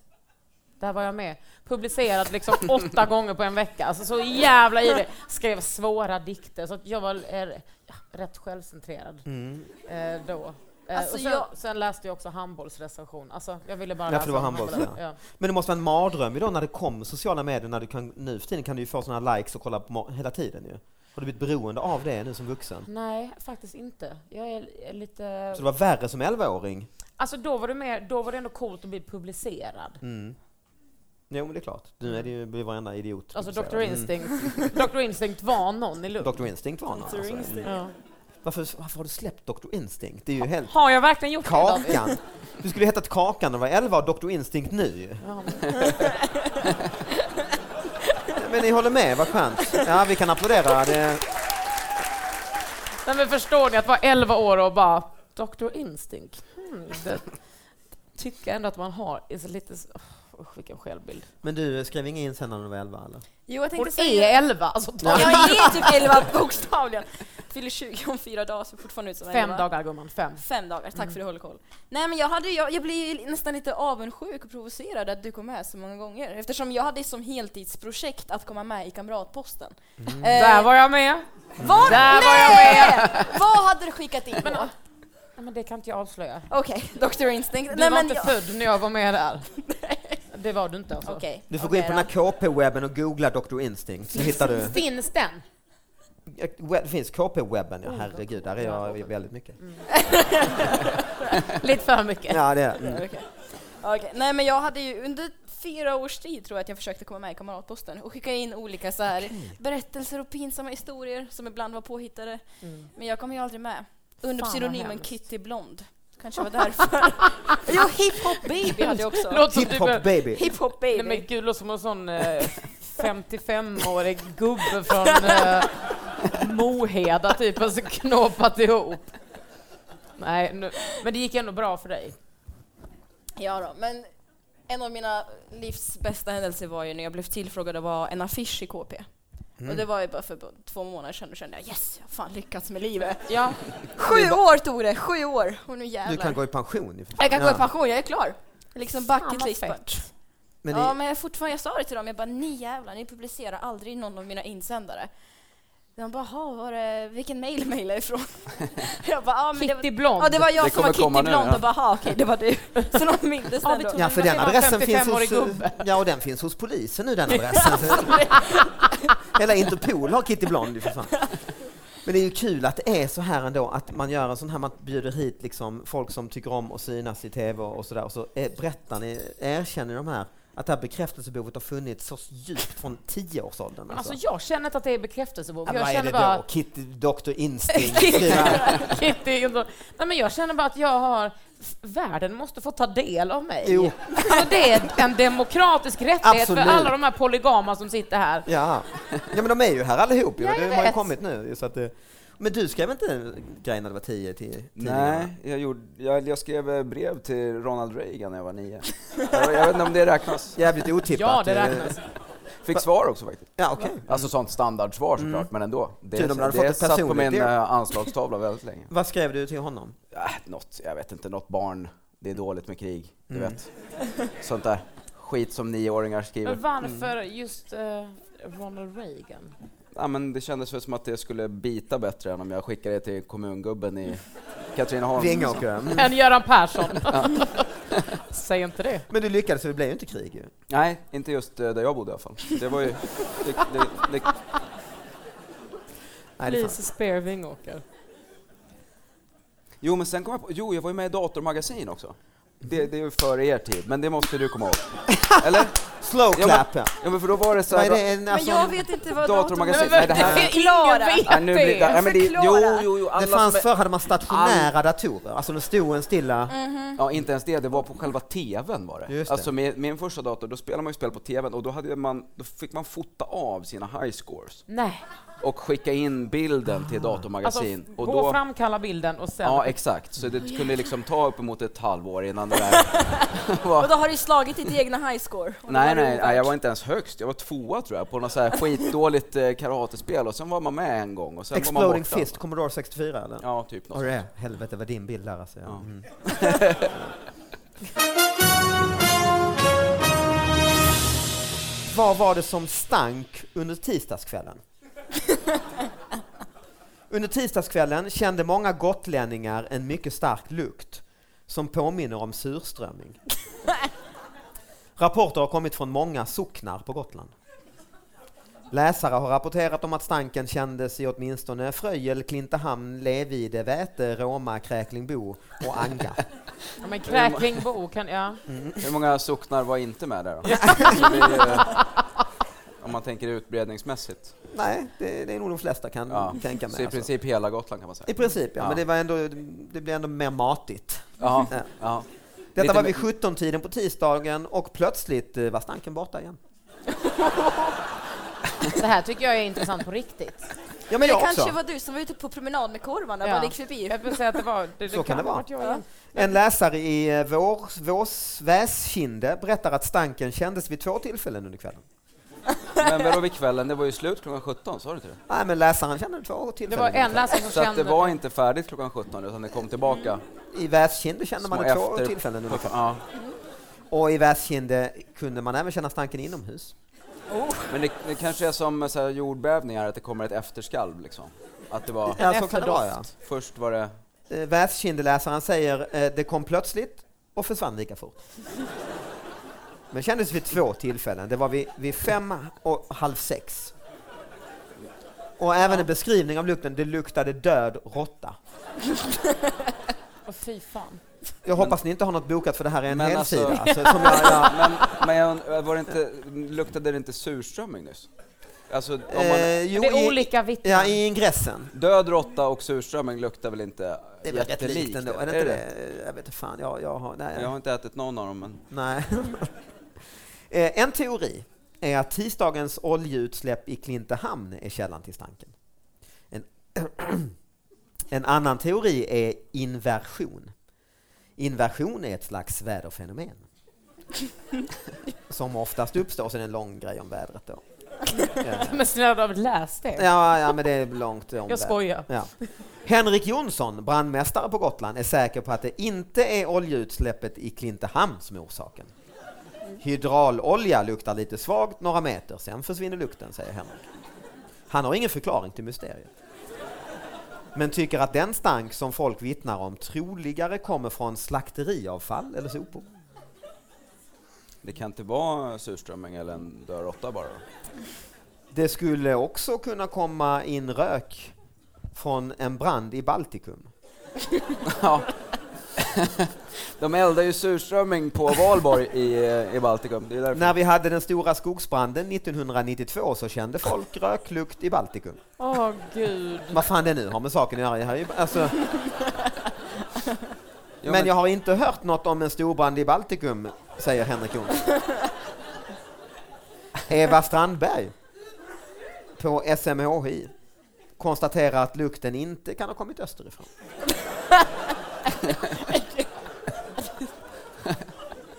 [SPEAKER 3] Där var jag med. Publicerad liksom (laughs) åtta gånger på en vecka. Alltså så jävla i det. Skrev svåra dikter. Så att jag var eh, ja, rätt självcentrerad
[SPEAKER 2] Mm.
[SPEAKER 3] eh, då. Eh,
[SPEAKER 4] Alltså,
[SPEAKER 3] och sen,
[SPEAKER 4] jag-
[SPEAKER 3] sen läste jag också handbollsrecension. Alltså, jag ville bara
[SPEAKER 2] Ja, för det
[SPEAKER 3] läsa
[SPEAKER 2] var
[SPEAKER 3] om
[SPEAKER 2] handboll, ja.
[SPEAKER 3] Ja.
[SPEAKER 2] Men det måste vara en mardröm ju då när det kom sociala medier, när du kan, nu för tiden kan du ju få sådana likes och kolla på ma- hela tiden ju. Har du blivit beroende av det nu som vuxen?
[SPEAKER 3] Nej, faktiskt inte. Jag är lite...
[SPEAKER 2] Så det var värre som 11-åring?
[SPEAKER 3] Alltså då var det, mer, då var det ändå coolt att bli publicerad.
[SPEAKER 2] Mm. Jo, men det är klart. Nu är det ju blir varenda idiot.
[SPEAKER 3] Alltså Dr.
[SPEAKER 2] publicerad.
[SPEAKER 3] Instinct, Dr. Instinct
[SPEAKER 2] (laughs)
[SPEAKER 3] var någon i Lund.
[SPEAKER 2] Mm. Dr. Mm. Instinct var någon alltså.
[SPEAKER 3] Ja.
[SPEAKER 2] varför, varför har du släppt Dr. Instinct? Det är ju helt...
[SPEAKER 3] Har jag verkligen gjort det? David?
[SPEAKER 2] Kakan! Du skulle hetat Kakan när du var 11 och Dr. Instinct nu ju.
[SPEAKER 3] Ja.
[SPEAKER 2] Men ni håller med, vad skönt. Ja, vi kan applådera. Det...
[SPEAKER 3] Nej, men förstår ni att vara 11 år och bara Dr. Instinct? Hmm, det, tycker ändå att man har är så lite... så- åh, Usch, vilken självbild.
[SPEAKER 2] Men du skrev ingen insändare när du var 11 eller?
[SPEAKER 4] Jo,
[SPEAKER 3] Hon
[SPEAKER 4] jag tänkte säga...
[SPEAKER 3] är 11! Alltså, ta
[SPEAKER 4] Jag är
[SPEAKER 2] (laughs)
[SPEAKER 4] typ 11 bokstavligen. Fyller 20 om fyra dagar, så fortfarande ut som
[SPEAKER 3] fem
[SPEAKER 4] 11.
[SPEAKER 3] dagar gumman, fem.
[SPEAKER 4] Fem dagar, tack
[SPEAKER 2] Mm.
[SPEAKER 4] för att du håller koll. Nej men jag, hade, jag, jag blev ju nästan lite avundsjuk och provocerad att du kom med så många gånger. Eftersom jag hade som heltidsprojekt att komma med i Kamratposten.
[SPEAKER 2] Mm.
[SPEAKER 4] Eh,
[SPEAKER 3] Där var jag med!
[SPEAKER 4] var,
[SPEAKER 3] där var jag
[SPEAKER 4] med! Vad hade du skickat in då?
[SPEAKER 3] Nej, men det kan inte jag avslöja.
[SPEAKER 4] Okej, Dr Instinct.
[SPEAKER 3] Du
[SPEAKER 4] Nej,
[SPEAKER 3] var
[SPEAKER 4] men
[SPEAKER 3] inte
[SPEAKER 4] jag-
[SPEAKER 3] född när jag var med (laughs) där. Det var du inte alltså.
[SPEAKER 4] Okej.
[SPEAKER 2] Du får
[SPEAKER 4] okej
[SPEAKER 2] gå in på
[SPEAKER 4] då.
[SPEAKER 2] den här KP-webben och googla Dr. Instinct så hittar du.
[SPEAKER 3] Finns den?
[SPEAKER 2] Web- Det finns KP-webben, ja herregud, där är jag väldigt mycket.
[SPEAKER 4] Mm.
[SPEAKER 3] Lite för mycket.
[SPEAKER 2] Ja, det är, mm.
[SPEAKER 4] Okej. Okej, Nej men jag hade ju under fyra års tid tror jag att jag försökte komma med i Kamratposten och skicka in olika så här berättelser och pinsamma historier som ibland var påhittade.
[SPEAKER 3] Mm.
[SPEAKER 4] Men jag kom ju aldrig med. Under
[SPEAKER 3] Fan, vad
[SPEAKER 4] pseudonymen
[SPEAKER 3] hemskt.
[SPEAKER 4] Kitty Blond. Kanske
[SPEAKER 3] (laughs)
[SPEAKER 4] var därför. jo, hiphop baby hade jag också.
[SPEAKER 3] Låter som du
[SPEAKER 2] Hiphop baby!
[SPEAKER 4] Hiphop
[SPEAKER 3] Nej men
[SPEAKER 4] baby.
[SPEAKER 3] gud, låter som en sån eh, 55-årig gubbe från eh, Moheda typ, och så knåpat ihop. Nej, nu, men det gick ändå bra för dig.
[SPEAKER 4] Ja då, men en av mina livs bästa händelser var ju när jag blev tillfrågad att vara en affisch i KP.
[SPEAKER 3] Mm.
[SPEAKER 4] Och det var ju bara för två månader sedan, då kände jag yes, jag har fan lyckats med livet.
[SPEAKER 3] Ja,
[SPEAKER 4] Sju år tog det, sju år! Och
[SPEAKER 2] Du
[SPEAKER 4] nu jävlar.
[SPEAKER 2] kan gå i pension ju. för
[SPEAKER 4] Jag kan
[SPEAKER 2] Ja.
[SPEAKER 4] gå i pension, jag är klar. Liksom
[SPEAKER 3] Fan,
[SPEAKER 4] bucket
[SPEAKER 3] vad
[SPEAKER 4] list. bara.
[SPEAKER 3] fett.
[SPEAKER 2] Men
[SPEAKER 4] ja,
[SPEAKER 2] ni,
[SPEAKER 4] men jag, fortfarande, jag sa det till dem, jag bara ni jävlar, ni publicerar aldrig någon av mina insändare. De bara, "Jaha, var det, vilken mail mejlade ifrån? (laughs) jag bara, ja men det var,
[SPEAKER 3] Kitty Blond.
[SPEAKER 4] ja, det var jag
[SPEAKER 5] Det
[SPEAKER 4] som var
[SPEAKER 5] kommer komma nu,
[SPEAKER 4] Kitty Blond
[SPEAKER 5] ja.
[SPEAKER 4] och bara, "Jaha, okej det var du. (laughs) Så någon mindes
[SPEAKER 3] Ja,
[SPEAKER 4] ändå.
[SPEAKER 3] vi
[SPEAKER 4] Ja,
[SPEAKER 3] tog-
[SPEAKER 2] Ja, för
[SPEAKER 3] Det
[SPEAKER 2] den
[SPEAKER 3] var en
[SPEAKER 2] adressen finns hos, eh,
[SPEAKER 3] 55-årig gubbe.
[SPEAKER 2] ja, och den finns hos polisen nu, den
[SPEAKER 3] (laughs)
[SPEAKER 2] adressen. Hela Interpol har Kitty Blond ju för fan. Men det är ju kul att det är så här ändå, att man gör en sån här, man bjuder hit liksom folk som tycker om att synas i tv och sådär, och så eh, berättar ni, erkänner de här, att det här bekräftelsebehovet har funnits så djupt från tioårsåldern. Alltså.
[SPEAKER 3] Alltså jag känner inte att det är bekräftelsebehov.
[SPEAKER 2] Ja,
[SPEAKER 3] Jag
[SPEAKER 2] vad är det
[SPEAKER 3] känner
[SPEAKER 2] då?
[SPEAKER 3] bara...
[SPEAKER 2] Kitty, Dr Instinct? skriva-
[SPEAKER 3] (laughs) Kitty, och då- nej, men jag känner bara att jag har... Världen måste få ta del av mig.
[SPEAKER 2] Jo.
[SPEAKER 3] Alltså, det är en demokratisk rättighet
[SPEAKER 2] Absolut.
[SPEAKER 3] för alla de här polygama som sitter här.
[SPEAKER 2] Ja. ja, men de är ju här allihop ju.
[SPEAKER 3] Ja, jag
[SPEAKER 2] det har ju
[SPEAKER 3] vet.
[SPEAKER 2] kommit nu. Så att det... Men du skrev inte grejen när det var tio till tidningarna?
[SPEAKER 5] Nej, jag, gjorde, jag, jag skrev eh, brev till Ronald Reagan när jag var nio. jag, jag vet inte om det räknas.
[SPEAKER 2] Jävligt otippat.
[SPEAKER 3] Ja, det
[SPEAKER 2] eh,
[SPEAKER 3] räknas.
[SPEAKER 5] Fick svar också faktiskt. Mm.
[SPEAKER 2] Ja, okej.
[SPEAKER 5] Alltså sånt standardsvar såklart, men ändå. Det,
[SPEAKER 2] Tur de hade fått
[SPEAKER 5] det
[SPEAKER 2] ett
[SPEAKER 5] satt på min
[SPEAKER 2] personligt brev.
[SPEAKER 5] eh, anslagstavla väldigt länge.
[SPEAKER 2] Vad skrev du till honom?
[SPEAKER 5] Äh, något, jag vet inte, något barn. Det är dåligt med krig, du
[SPEAKER 2] Mm.
[SPEAKER 5] vet. Sånt där skit som nioåringar skriver.
[SPEAKER 3] Men varför just eh, Ronald Reagan?
[SPEAKER 5] Ja, men det kändes väl som att det skulle bita bättre än om jag skickade det till kommungubben i Katrineholm.
[SPEAKER 2] Vingåker. Mm.
[SPEAKER 3] Än Göran Persson? Säg inte det.
[SPEAKER 2] Men du lyckades, så det blev ju inte krig ju.
[SPEAKER 5] Nej, inte just eh, där jag bodde i alla fall. Det var ju... Det, det, det,
[SPEAKER 2] Nej, det är fan.
[SPEAKER 3] Lise Spear Vingåker.
[SPEAKER 5] jo, men sen kom jag på... Jo, jag var ju med i Datormagasin också. Det, det är ju före er tid, men det måste
[SPEAKER 2] (laughs)
[SPEAKER 5] du komma ihåg. Eller?
[SPEAKER 2] Slow
[SPEAKER 5] Ja,
[SPEAKER 2] clap, ja.
[SPEAKER 5] Ja, men för då var det så
[SPEAKER 2] Vad
[SPEAKER 5] här...
[SPEAKER 2] är det? En,
[SPEAKER 4] men
[SPEAKER 2] alltså,
[SPEAKER 4] jag vet inte vad
[SPEAKER 5] Datormagasin.
[SPEAKER 3] Men
[SPEAKER 5] Nej, det här...
[SPEAKER 3] ingen
[SPEAKER 4] Klara.
[SPEAKER 3] vet
[SPEAKER 5] Nej, nu blir,
[SPEAKER 3] det.
[SPEAKER 5] nej, men det jo, jo, jo, alla
[SPEAKER 2] det fanns
[SPEAKER 5] som är-
[SPEAKER 2] förr hade man stationära datorer, alltså det stod en stilla...
[SPEAKER 3] Mm.
[SPEAKER 5] Ja, inte ens det. Det var på själva TVn var det.
[SPEAKER 2] Just det.
[SPEAKER 5] Alltså med min första dator, då spelade man ju spel på TVn och då, hade man, då fick man fota av sina high scores
[SPEAKER 3] Nej,
[SPEAKER 5] och skicka in bilden till
[SPEAKER 3] alltså
[SPEAKER 5] datormagasin.
[SPEAKER 3] gå
[SPEAKER 5] och
[SPEAKER 3] och framkalla bilden och sen...
[SPEAKER 5] Ja, exakt. Så det skulle liksom ta uppemot ett halvår innan det där var...
[SPEAKER 4] Och då har du slagit ditt
[SPEAKER 2] (laughs)
[SPEAKER 4] egna highscore. Och då
[SPEAKER 5] Nej,
[SPEAKER 4] var det
[SPEAKER 5] nej, nej, jag
[SPEAKER 4] ovärt.
[SPEAKER 5] var inte ens högst. Jag var tvåa tror jag på något så här skitdåligt eh, karatespel och sen var man med en gång och sen var man
[SPEAKER 2] Exploding
[SPEAKER 5] borta.
[SPEAKER 2] Fist, Commodore 64 eller?
[SPEAKER 5] Ja, typ något.
[SPEAKER 2] Ja, det är. Helvete vad din bild där alltså. Ja.
[SPEAKER 5] Ja.
[SPEAKER 2] Mm. vad var det som stank under tisdagskvällen? under tisdagskvällen kände många gotlänningar en mycket stark lukt som påminner om surströmming. Rapporter har kommit från många socknar på Gotland. Läsare har rapporterat om att stanken kändes i åtminstone Fröjel, Klintehamn, Levide, Väte, Roma, Kräklingbo och
[SPEAKER 5] (laughs)
[SPEAKER 2] Anga.
[SPEAKER 3] Ja, men Kräklingbo kan... Ja.
[SPEAKER 5] Hur många socknar var inte
[SPEAKER 2] (laughs)
[SPEAKER 5] med där då? Alltså, det är ju, eh, om man tänker utbredningsmässigt.
[SPEAKER 2] Nej, det, det är nog de flesta kan
[SPEAKER 5] Ja.
[SPEAKER 2] tänka mig.
[SPEAKER 5] Så i
[SPEAKER 2] alltså.
[SPEAKER 5] princip hela Gotland kan man säga.
[SPEAKER 2] I princip, ja,
[SPEAKER 5] Ja.
[SPEAKER 2] Men det, var ändå, det blev ändå mer matigt.
[SPEAKER 5] Ja,
[SPEAKER 2] Ja.
[SPEAKER 5] ja.
[SPEAKER 2] Detta
[SPEAKER 5] Lite
[SPEAKER 2] var
[SPEAKER 5] mer-
[SPEAKER 2] vid 17-tiden på tisdagen och plötsligt eh, var stanken borta igen.
[SPEAKER 3] Det här tycker jag är intressant på riktigt.
[SPEAKER 2] Ja, men
[SPEAKER 4] Men det
[SPEAKER 2] jag
[SPEAKER 4] kanske
[SPEAKER 2] också.
[SPEAKER 4] var du som var ute på promenad med korvarna när
[SPEAKER 3] Ja.
[SPEAKER 4] man gick förbi.
[SPEAKER 3] Jag vill säga att det var... Det, det
[SPEAKER 2] Så kan det
[SPEAKER 3] ha
[SPEAKER 2] vara.
[SPEAKER 3] varit jag igen.
[SPEAKER 2] En läsare i eh, vår, Vås Väskinde berättar att stanken kändes vid två tillfällen under kvällen.
[SPEAKER 5] Men vadå vid kvällen? Det var ju slut klockan 17, sa du inte det?
[SPEAKER 2] Nej, men läsaren kände det två
[SPEAKER 3] Det
[SPEAKER 2] tillfällen.
[SPEAKER 3] var en
[SPEAKER 2] under kvällen.
[SPEAKER 3] läsare som
[SPEAKER 5] Så att
[SPEAKER 3] kände...
[SPEAKER 5] det var inte färdigt klockan 17 utan det kom tillbaka.
[SPEAKER 2] I Väskinde kände man
[SPEAKER 5] små
[SPEAKER 2] Mm. det två
[SPEAKER 5] efter-
[SPEAKER 2] tillfällen under kvällen.
[SPEAKER 5] Ja.
[SPEAKER 2] Och i Väskinde kunde man även känna stanken inomhus.
[SPEAKER 5] Men det, det kanske är som så här jordbävningar, att det kommer ett efterskalv liksom. Att det var,
[SPEAKER 2] Ja, så kan det vara, ja.
[SPEAKER 5] först var det...
[SPEAKER 2] Eh, Väskindeläsaren säger eh, det kom plötsligt och försvann lika fort. Men kändes vid två tillfällen. Det var vid, vid fem och halv sex. Och även en beskrivning av lukten. Det luktade död råtta.
[SPEAKER 3] Åh, fy fan.
[SPEAKER 2] Jag hoppas ni inte har något bokat för det här är en
[SPEAKER 5] Men
[SPEAKER 2] helsida.
[SPEAKER 5] alltså-
[SPEAKER 2] Alltså, som jag, jag,
[SPEAKER 5] Men, men jag, und- var det inte, luktade det inte surströmming nyss? Alltså, (laughs) om man,
[SPEAKER 2] eh, jo,
[SPEAKER 3] det är
[SPEAKER 2] i-
[SPEAKER 3] olika vittnen.
[SPEAKER 2] Ja, i ingressen.
[SPEAKER 5] död råtta och surströmming luktar väl inte
[SPEAKER 2] Det är väl rätt
[SPEAKER 5] jättelikt?
[SPEAKER 2] likt ändå, är det inte det? Jag vet inte fan, jag, jag har... Nej.
[SPEAKER 5] Jag har inte ätit någon av dem, men
[SPEAKER 2] Nej. (laughs) Eh, en teori är att tisdagens oljeutsläpp i Klintehamn är källan till stanken. En, (clears throat) en annan teori är inversion. Inversion är ett slags väderfenomen. Som oftast uppstår, sen en lång grej om vädret då. Eh,
[SPEAKER 3] (laughs) Men snälla, läs det.
[SPEAKER 2] Ja, ja men det är långt om
[SPEAKER 3] Jag
[SPEAKER 2] vädret.
[SPEAKER 3] skojar.
[SPEAKER 2] Ja. Henrik Jonsson, brandmästare på Gotland, är säker på att det inte är oljeutsläppet i Klintehamn som är orsaken. Hydraulolja luktar lite svagt några meter, sen försvinner lukten, säger Henrik. Han har ingen förklaring till mysteriet. Men tycker att den stank som folk vittnar om troligare kommer från slakteriavfall eller sopor.
[SPEAKER 5] Det kan inte vara surströmming eller en död råtta bara.
[SPEAKER 2] Det skulle också kunna komma in rök från en brand i Baltikum.
[SPEAKER 5] (laughs) Ja. (laughs) De eldar ju surströmming på valborg i, i Baltikum. Det är därför.
[SPEAKER 2] När vi hade den stora skogsbranden 1992 så kände folk röklukt i Baltikum.
[SPEAKER 3] Åh gud.
[SPEAKER 2] Vad fan det nu har med saken att göra. Jag har ju, alltså,
[SPEAKER 5] Ja,
[SPEAKER 2] men jag har inte hört något om en storbrand i Baltikum, säger Henrik Jonsson. Eva Strandberg på SMHI konstaterar att lukten inte kan ha kommit österifrån.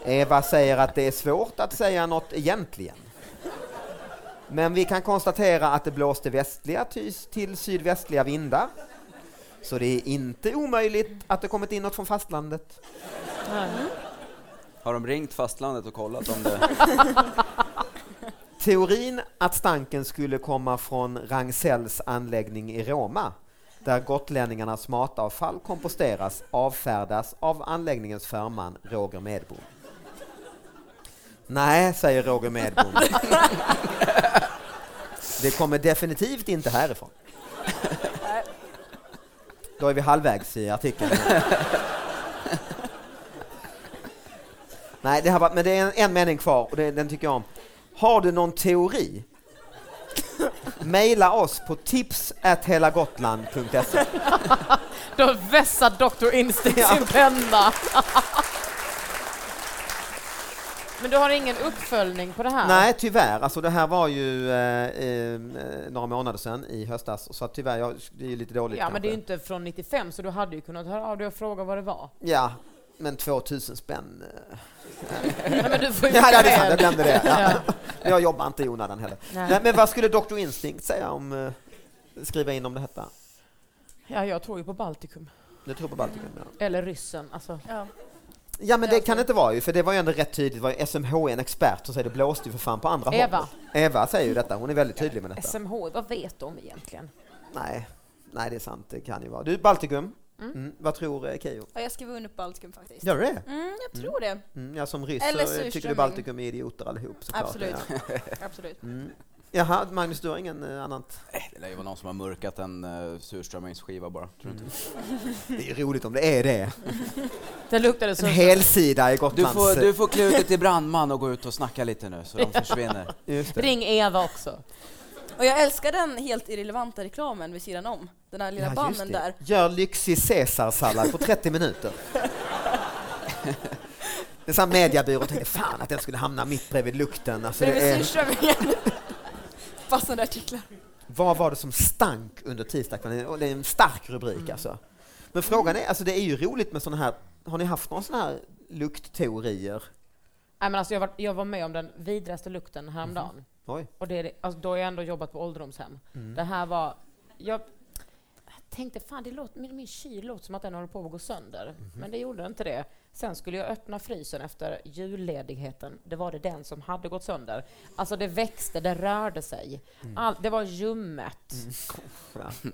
[SPEAKER 2] Eva säger att det är svårt att säga något egentligen. Men vi kan konstatera att det blåste västliga ty- till sydvästliga vindar. Så det är inte omöjligt att det kommit in något från fastlandet.
[SPEAKER 5] Har de ringt fastlandet och kollat om det...
[SPEAKER 2] Teorin att stanken skulle komma från Ragn-Sells anläggning i Roma där gotlänningarnas matavfall komposteras avfärdas av anläggningens förman Roger Medbom. Nej, säger Roger Medbom. Det kommer definitivt inte härifrån. Då är vi halvvägs i artikeln. Nej, det här var, men det är en, en mening kvar och det, den tycker jag om. Har du någon
[SPEAKER 3] (laughs)
[SPEAKER 2] teori? Maila oss på tips.helagotland.se.
[SPEAKER 3] Då vässar Dr. Instinct sin penna. (laughs) Men du har ingen uppföljning på det här?
[SPEAKER 2] Nej, tyvärr. Alltså, det här var ju eh, eh, några månader sedan i höstas, så att tyvärr, jag, det är ju lite dåligt
[SPEAKER 3] Ja, men det är ju
[SPEAKER 2] kanske.
[SPEAKER 3] inte från 95, så du hade ju kunnat höra av dig och fråga vad
[SPEAKER 2] (clears throat)
[SPEAKER 3] det var.
[SPEAKER 2] Ja, men 2000 spänn. eh.
[SPEAKER 3] Nej, men du får ju
[SPEAKER 2] Ja, det är
[SPEAKER 3] själv.
[SPEAKER 2] sant, jag glömde det. Ja.
[SPEAKER 3] Ja.
[SPEAKER 2] Men (laughs) Jag jobbar inte i onödan heller.
[SPEAKER 3] Nej.
[SPEAKER 2] Nej, men vad skulle Dr. Instinct säga om eh, skriva in om detta?
[SPEAKER 3] ja, jag tror ju på Baltikum.
[SPEAKER 2] Du tror på Baltikum? Ja.
[SPEAKER 3] Eller ryssen. Alltså.
[SPEAKER 4] Ja.
[SPEAKER 2] Ja men det
[SPEAKER 4] Alltså-
[SPEAKER 2] kan det inte vara ju, för det var ju ändå rätt tydligt, det var ju SMH en expert som säger det blåste ju för fan på andra
[SPEAKER 3] Eva.
[SPEAKER 2] hållet. Eva säger ju detta, hon är väldigt tydlig med detta.
[SPEAKER 3] SMH, vad vet de egentligen?
[SPEAKER 2] Nej, nej det är sant, det kan ju vara. Du, Baltikum, mm. vad tror eh, Keyyo?
[SPEAKER 4] Ja, jag skriver under på Baltikum faktiskt.
[SPEAKER 2] Gör du det?
[SPEAKER 4] Mm, jag tror det.
[SPEAKER 2] Mm, ja, som ryss
[SPEAKER 4] Eller
[SPEAKER 2] så eh, tycker du
[SPEAKER 4] surströmming.
[SPEAKER 2] Baltikum är idioter allihop såklart.
[SPEAKER 4] Absolut.
[SPEAKER 2] Ja.
[SPEAKER 4] Absolut.
[SPEAKER 2] Mm. Jaha, Magnus, du har ingen eh, annat?
[SPEAKER 5] Det lär ju vara någon som har mörkat en uh, surströmmingsskiva bara. Tror du inte?
[SPEAKER 2] Det är roligt om det är det.
[SPEAKER 3] Det luktade så...
[SPEAKER 2] En hel sida i
[SPEAKER 5] Du,
[SPEAKER 2] Gotlands...
[SPEAKER 5] får, du får klä ut dig till brandman och gå ut och snacka lite nu så de försvinner.
[SPEAKER 2] Just det.
[SPEAKER 3] Ring Eva också.
[SPEAKER 4] Och jag älskar den helt irrelevanta reklamen vid sidan om. Den här lilla
[SPEAKER 2] Ja, just
[SPEAKER 4] banden
[SPEAKER 2] det.
[SPEAKER 4] där.
[SPEAKER 2] Gör lyxig caesarsallad på 30 minuter. Det sa mediabyrån tänkte fan att den skulle hamna mitt bredvid lukten. Alltså, det
[SPEAKER 4] Bredvid
[SPEAKER 2] är, (laughs)
[SPEAKER 4] surströmmingen. Passande artiklar.
[SPEAKER 2] vad var det som stank under tisdagskvällen? Och Det är en stark rubrik alltså. Men frågan är, alltså det är ju roligt med sådana här, har ni haft någon sån här luktteorier?
[SPEAKER 3] Nej, men alltså, jag, var, jag var med om den vidraste lukten häromdagen.
[SPEAKER 2] Oj.
[SPEAKER 3] Och det är det, alltså, då har jag ändå jobbat på ålderdomshem. Det här var... Jag, jag tänkte fan, det låter, min, min kyl låter som att den håller på att gå sönder. Men det gjorde inte det. Sen skulle jag öppna frysen efter julledigheten. Det var det den som hade gått sönder. Alltså det växte, det rörde sig. All, det var ljummet.
[SPEAKER 2] Ja.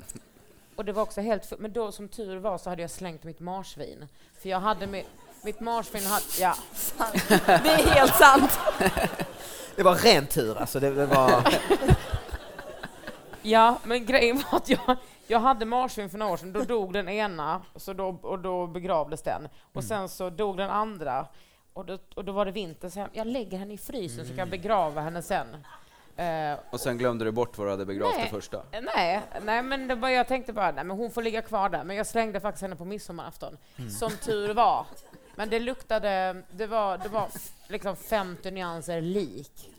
[SPEAKER 3] Och det var också helt fu- Men då som tur var så hade jag slängt mitt marsvin. För jag hade med, mitt marsvin hade, ja.
[SPEAKER 4] Det är
[SPEAKER 2] (laughs)
[SPEAKER 4] helt sant.
[SPEAKER 2] Det var ren tur alltså. Det, det var,
[SPEAKER 3] Ja, men grejen var att jag, jag hade marsvin för några år sedan. Då dog den ena så då, och då begravdes den. Och
[SPEAKER 2] Mm.
[SPEAKER 3] sen så dog den andra och då, och då var det vinter. Så jag, jag lägger henne i frysen så kan
[SPEAKER 2] Mm.
[SPEAKER 3] jag begrava henne sen. Eh,
[SPEAKER 5] Och sen glömde du bort vad du hade begravt
[SPEAKER 3] Nej.
[SPEAKER 5] det första.
[SPEAKER 3] nej, nej, men det var, jag tänkte bara nej, men hon får ligga kvar där. Men jag slängde faktiskt henne på midsommarafton,
[SPEAKER 2] Mm.
[SPEAKER 3] som tur var. Men det luktade, det var, det var liksom 50 nyanser lik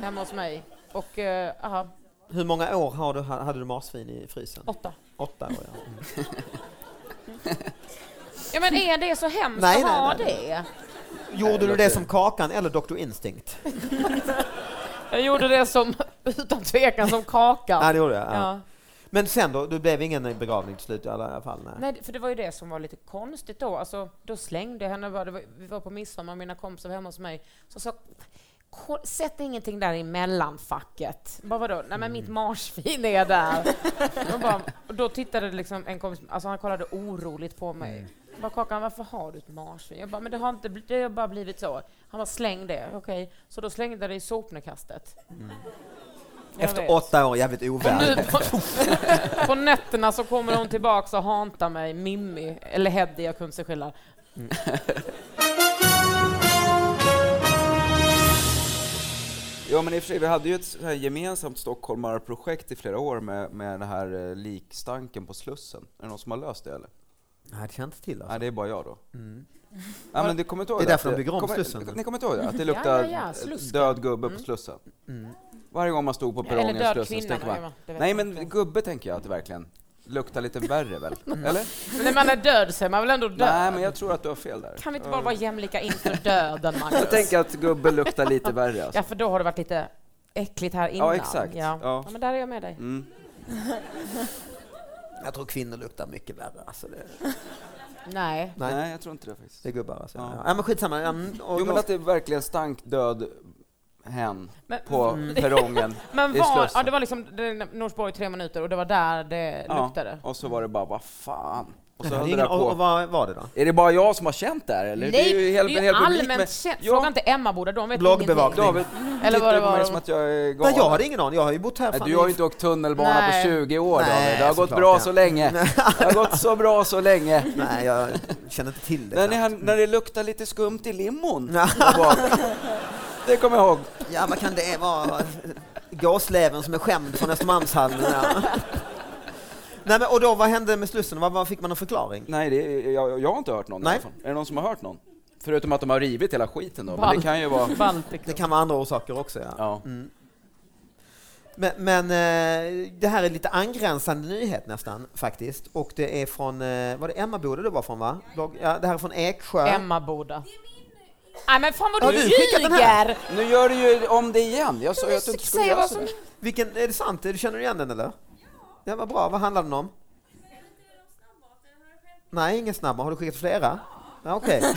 [SPEAKER 3] hemma hos mig. Och, eh, aha,
[SPEAKER 2] hur många år har du, hade du marsvin i frysen?
[SPEAKER 3] åtta.
[SPEAKER 2] Åtta år ja. Mm.
[SPEAKER 3] Ja men är det så hemskt
[SPEAKER 2] Nej,
[SPEAKER 3] att
[SPEAKER 2] nej,
[SPEAKER 3] ha
[SPEAKER 2] nej,
[SPEAKER 3] det?
[SPEAKER 2] Gjorde du
[SPEAKER 5] låter-
[SPEAKER 2] det som Kakan eller Dr Instinct?
[SPEAKER 3] Jag gjorde det som, utan tvekan som kakan.
[SPEAKER 2] Nej, det gjorde jag. Ja.
[SPEAKER 3] ja.
[SPEAKER 2] Men sen då, det blev ingen begravning till slut i alla fall? Nej.
[SPEAKER 3] Nej, för det var ju det som var lite konstigt då. Alltså, då slängde jag henne bara. Det var, vi var på midsommar, mina kompisar var hemma hos mig. Så sa ko- Sätt ingenting där i mellanfacket. Bara vadå? Nej men
[SPEAKER 2] Mm.
[SPEAKER 3] mitt marsvin är där. och, bara, och då tittade liksom en kompis, alltså han kollade oroligt på mig.
[SPEAKER 2] Mm.
[SPEAKER 3] Bara Kakan, varför har du ett marsvin? Jag bara, men det har, inte, bl- det har bara blivit så. Han bara, släng det. Okej. Så då slängde jag det i sopnedkastet. Jag
[SPEAKER 2] Mm. Efter
[SPEAKER 3] vet.
[SPEAKER 2] åtta år, jävligt
[SPEAKER 3] Och
[SPEAKER 2] ovärd.
[SPEAKER 3] nu på, på (laughs) nätterna så kommer hon tillbaka och hantar mig, Mimmi, eller Heddy, jag kunde inte skilja.
[SPEAKER 5] Ja men i och för sig, vi hade ju ett så här gemensamt Stockholmarprojekt i flera år med, med den här eh, likstanken på Slussen. Är det någon som har löst det eller?
[SPEAKER 2] Nej, det känns till
[SPEAKER 5] Nej,
[SPEAKER 2] alltså. Mm.
[SPEAKER 5] det är bara jag då. Ja, men du kommer inte ihåg
[SPEAKER 2] Det är därför
[SPEAKER 5] att
[SPEAKER 2] de bygger om
[SPEAKER 5] kommer,
[SPEAKER 2] Slussen.
[SPEAKER 5] Ni kommer inte ihåg det? Att det luktar
[SPEAKER 3] ja, ja, Slussen. Mm.
[SPEAKER 5] död gubbe på Slussen.
[SPEAKER 2] Mm.
[SPEAKER 5] Varje gång man stod på perrongen i
[SPEAKER 3] död
[SPEAKER 5] Slussen så
[SPEAKER 3] kvinna,
[SPEAKER 5] tänker man,
[SPEAKER 3] nej, det vet
[SPEAKER 5] nej
[SPEAKER 3] jag
[SPEAKER 5] men
[SPEAKER 3] inte. Mm.
[SPEAKER 5] gubbe tänker jag att det verkligen luktar lite
[SPEAKER 3] (laughs)
[SPEAKER 5] värre väl? Eller?
[SPEAKER 3] När man är död så är man väl ändå död?
[SPEAKER 5] Nej men jag tror att du har fel där.
[SPEAKER 3] Kan vi inte bara vara jämlika inför döden,
[SPEAKER 5] Jag
[SPEAKER 3] Magnus?
[SPEAKER 5] tänker att gubbe
[SPEAKER 3] (laughs)
[SPEAKER 5] luktar lite värre alltså.
[SPEAKER 3] Ja, för då har det varit lite äckligt här innan.
[SPEAKER 5] exakt.
[SPEAKER 3] Ja.
[SPEAKER 5] Ja.
[SPEAKER 3] Ja, men där är jag med dig.
[SPEAKER 5] Mm.
[SPEAKER 2] Jag tror kvinnor luktar mycket värre. Alltså det,
[SPEAKER 3] Nej.
[SPEAKER 2] Nej.
[SPEAKER 5] Nej jag tror inte det faktiskt.
[SPEAKER 2] det är gubbar alltså. Ja.
[SPEAKER 5] Ja.
[SPEAKER 2] men skitsamma. Mm, och
[SPEAKER 5] Jo men
[SPEAKER 2] då-
[SPEAKER 5] att det verkligen stank död hen
[SPEAKER 3] Men, (laughs)
[SPEAKER 5] på perrongen
[SPEAKER 3] men
[SPEAKER 5] i
[SPEAKER 3] var, ja,
[SPEAKER 5] Slussen.
[SPEAKER 3] det var liksom det- Norsborg i tre minuter och det var där det luktade.
[SPEAKER 5] och så var det bara, vad fan. Och så
[SPEAKER 2] Ja, det är
[SPEAKER 5] höll det
[SPEAKER 2] ingen-
[SPEAKER 5] där
[SPEAKER 2] och, och
[SPEAKER 5] på.
[SPEAKER 2] vad var det då?
[SPEAKER 5] Är det bara jag som har känt det här eller?
[SPEAKER 3] Nej,
[SPEAKER 5] hel-
[SPEAKER 3] det är
[SPEAKER 5] en
[SPEAKER 3] ju
[SPEAKER 5] hel publik
[SPEAKER 3] allmänt
[SPEAKER 5] med-
[SPEAKER 3] känt.
[SPEAKER 5] Ja,
[SPEAKER 3] Fråga inte Emmaboda, de vet
[SPEAKER 2] Bloggbevakning.
[SPEAKER 3] ingenting.
[SPEAKER 5] David
[SPEAKER 3] Eller
[SPEAKER 5] tittar
[SPEAKER 3] vad det
[SPEAKER 5] på mig
[SPEAKER 3] var.
[SPEAKER 5] som att jag är galen.
[SPEAKER 2] Nej, jag hade ingen aning. Jag har ju bott här.
[SPEAKER 5] Nej,
[SPEAKER 2] fan
[SPEAKER 5] du har
[SPEAKER 2] i-
[SPEAKER 5] ju inte åkt tunnelbana
[SPEAKER 3] Nej.
[SPEAKER 5] på 20 år
[SPEAKER 2] Nej,
[SPEAKER 5] David. Det har gått
[SPEAKER 2] såklart
[SPEAKER 5] bra
[SPEAKER 2] inte.
[SPEAKER 5] så länge. Det har gått så bra så länge.
[SPEAKER 2] Nej, jag känner inte till det.
[SPEAKER 5] När, ni,
[SPEAKER 2] knappt.
[SPEAKER 5] hann- när det luktar lite skumt i limon.
[SPEAKER 2] Ja.
[SPEAKER 5] där bak. Det kommer jag ihåg.
[SPEAKER 2] Ja, vad kan det vara? Gåsleven som är skämd från Östermalmshallen. Ja. Nej, men, och då, vad hände med Slussen? Vad, vad fick man en förklaring?
[SPEAKER 5] Nej, det är, jag, jag har inte hört någon
[SPEAKER 2] Nej.
[SPEAKER 5] i alla fall. Är det någon som har hört någon? Förutom att de har rivit hela skiten då. Men
[SPEAKER 3] Ball.
[SPEAKER 5] det kan ju
[SPEAKER 2] (laughs)
[SPEAKER 5] vara...
[SPEAKER 2] Det
[SPEAKER 3] Baltikum.
[SPEAKER 2] kan vara andra orsaker också. Ja.
[SPEAKER 5] Ja.
[SPEAKER 2] Men, men eh, det här är lite angränsande nyhet nästan faktiskt. Och det är från, eh, var det Emmaboda du var från va? Blogg- Ja, det här är från Eksjö.
[SPEAKER 3] Emmaboda. Nej men fan vad
[SPEAKER 2] Har
[SPEAKER 3] du
[SPEAKER 2] du skickat den här?
[SPEAKER 3] ljuger!
[SPEAKER 5] Nu gör du ju om det igen. Jag sa ju att du inte skulle
[SPEAKER 3] Säga
[SPEAKER 5] göra
[SPEAKER 3] vad
[SPEAKER 5] sådär.
[SPEAKER 3] som...
[SPEAKER 2] Vilken, är det sant? Du känner igen den eller? Ja, vad bra. Vad handlar den om? Nej, ingen snabba. Har du skickat flera? Ja, Okej. (laughs)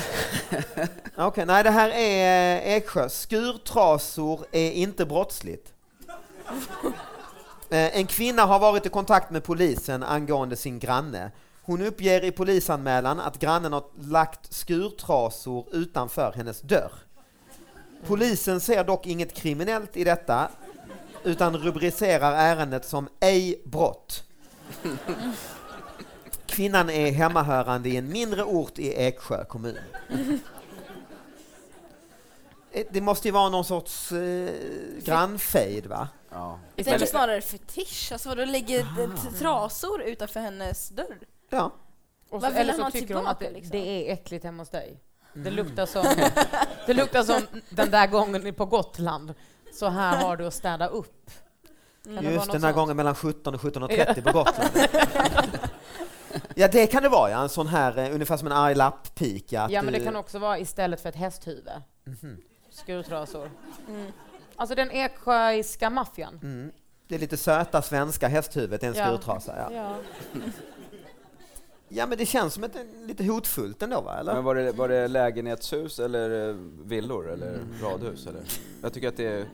[SPEAKER 2] Ja, Okej, nej det här är eh, Eksjö. Skurtrasor är inte (laughs) brottsligt. Eh, En kvinna har varit i kontakt med polisen angående sin granne. Hon uppger i polisanmälan att grannen har lagt skurtrasor utanför hennes dörr. Polisen ser dock inget kriminellt i detta utan rubricerar ärendet som ej brott. Kvinnan är hemmahörande i en mindre ort i Eksjö kommun. Eh, Det måste ju vara någon sorts eh, grannfejd va?
[SPEAKER 5] Ja.
[SPEAKER 4] Jag tänker snarare fetisch. Alltså vadå, lägger t- trasor utanför hennes dörr?
[SPEAKER 2] Ja.
[SPEAKER 3] Och så,
[SPEAKER 4] Vad vill
[SPEAKER 3] eller så
[SPEAKER 4] han ha
[SPEAKER 3] tycker hon att det,
[SPEAKER 4] tillbaka, liksom?
[SPEAKER 3] det är äckligt hemma hos dig. Det luktar, som, det luktar som den där gången på Gotland. Så här har du att städa upp. Kan det vara
[SPEAKER 2] Just
[SPEAKER 3] något
[SPEAKER 2] den här
[SPEAKER 3] sånt?
[SPEAKER 2] gången mellan 17 och 17.30 på Gotland. ja det kan det vara ja, en sån här eh, ungefär som en arg lapp-pika. att
[SPEAKER 3] Ja, men det
[SPEAKER 2] du- Mhm.
[SPEAKER 3] kan också vara istället för ett hästhuvud. Skurtrasor. Alltså den eksjöiska maffian.
[SPEAKER 2] Mm. det är lite söta svenska hästhuvudet, det är en
[SPEAKER 3] Ja.
[SPEAKER 2] skurtrasa. Ja.
[SPEAKER 3] Ja.
[SPEAKER 2] ja men det känns som ett, eh, lite hotfullt ändå va? Eller?
[SPEAKER 5] Men var det, var det lägenhetshus eller eh, villor eller radhus eller? Jag tycker att det är...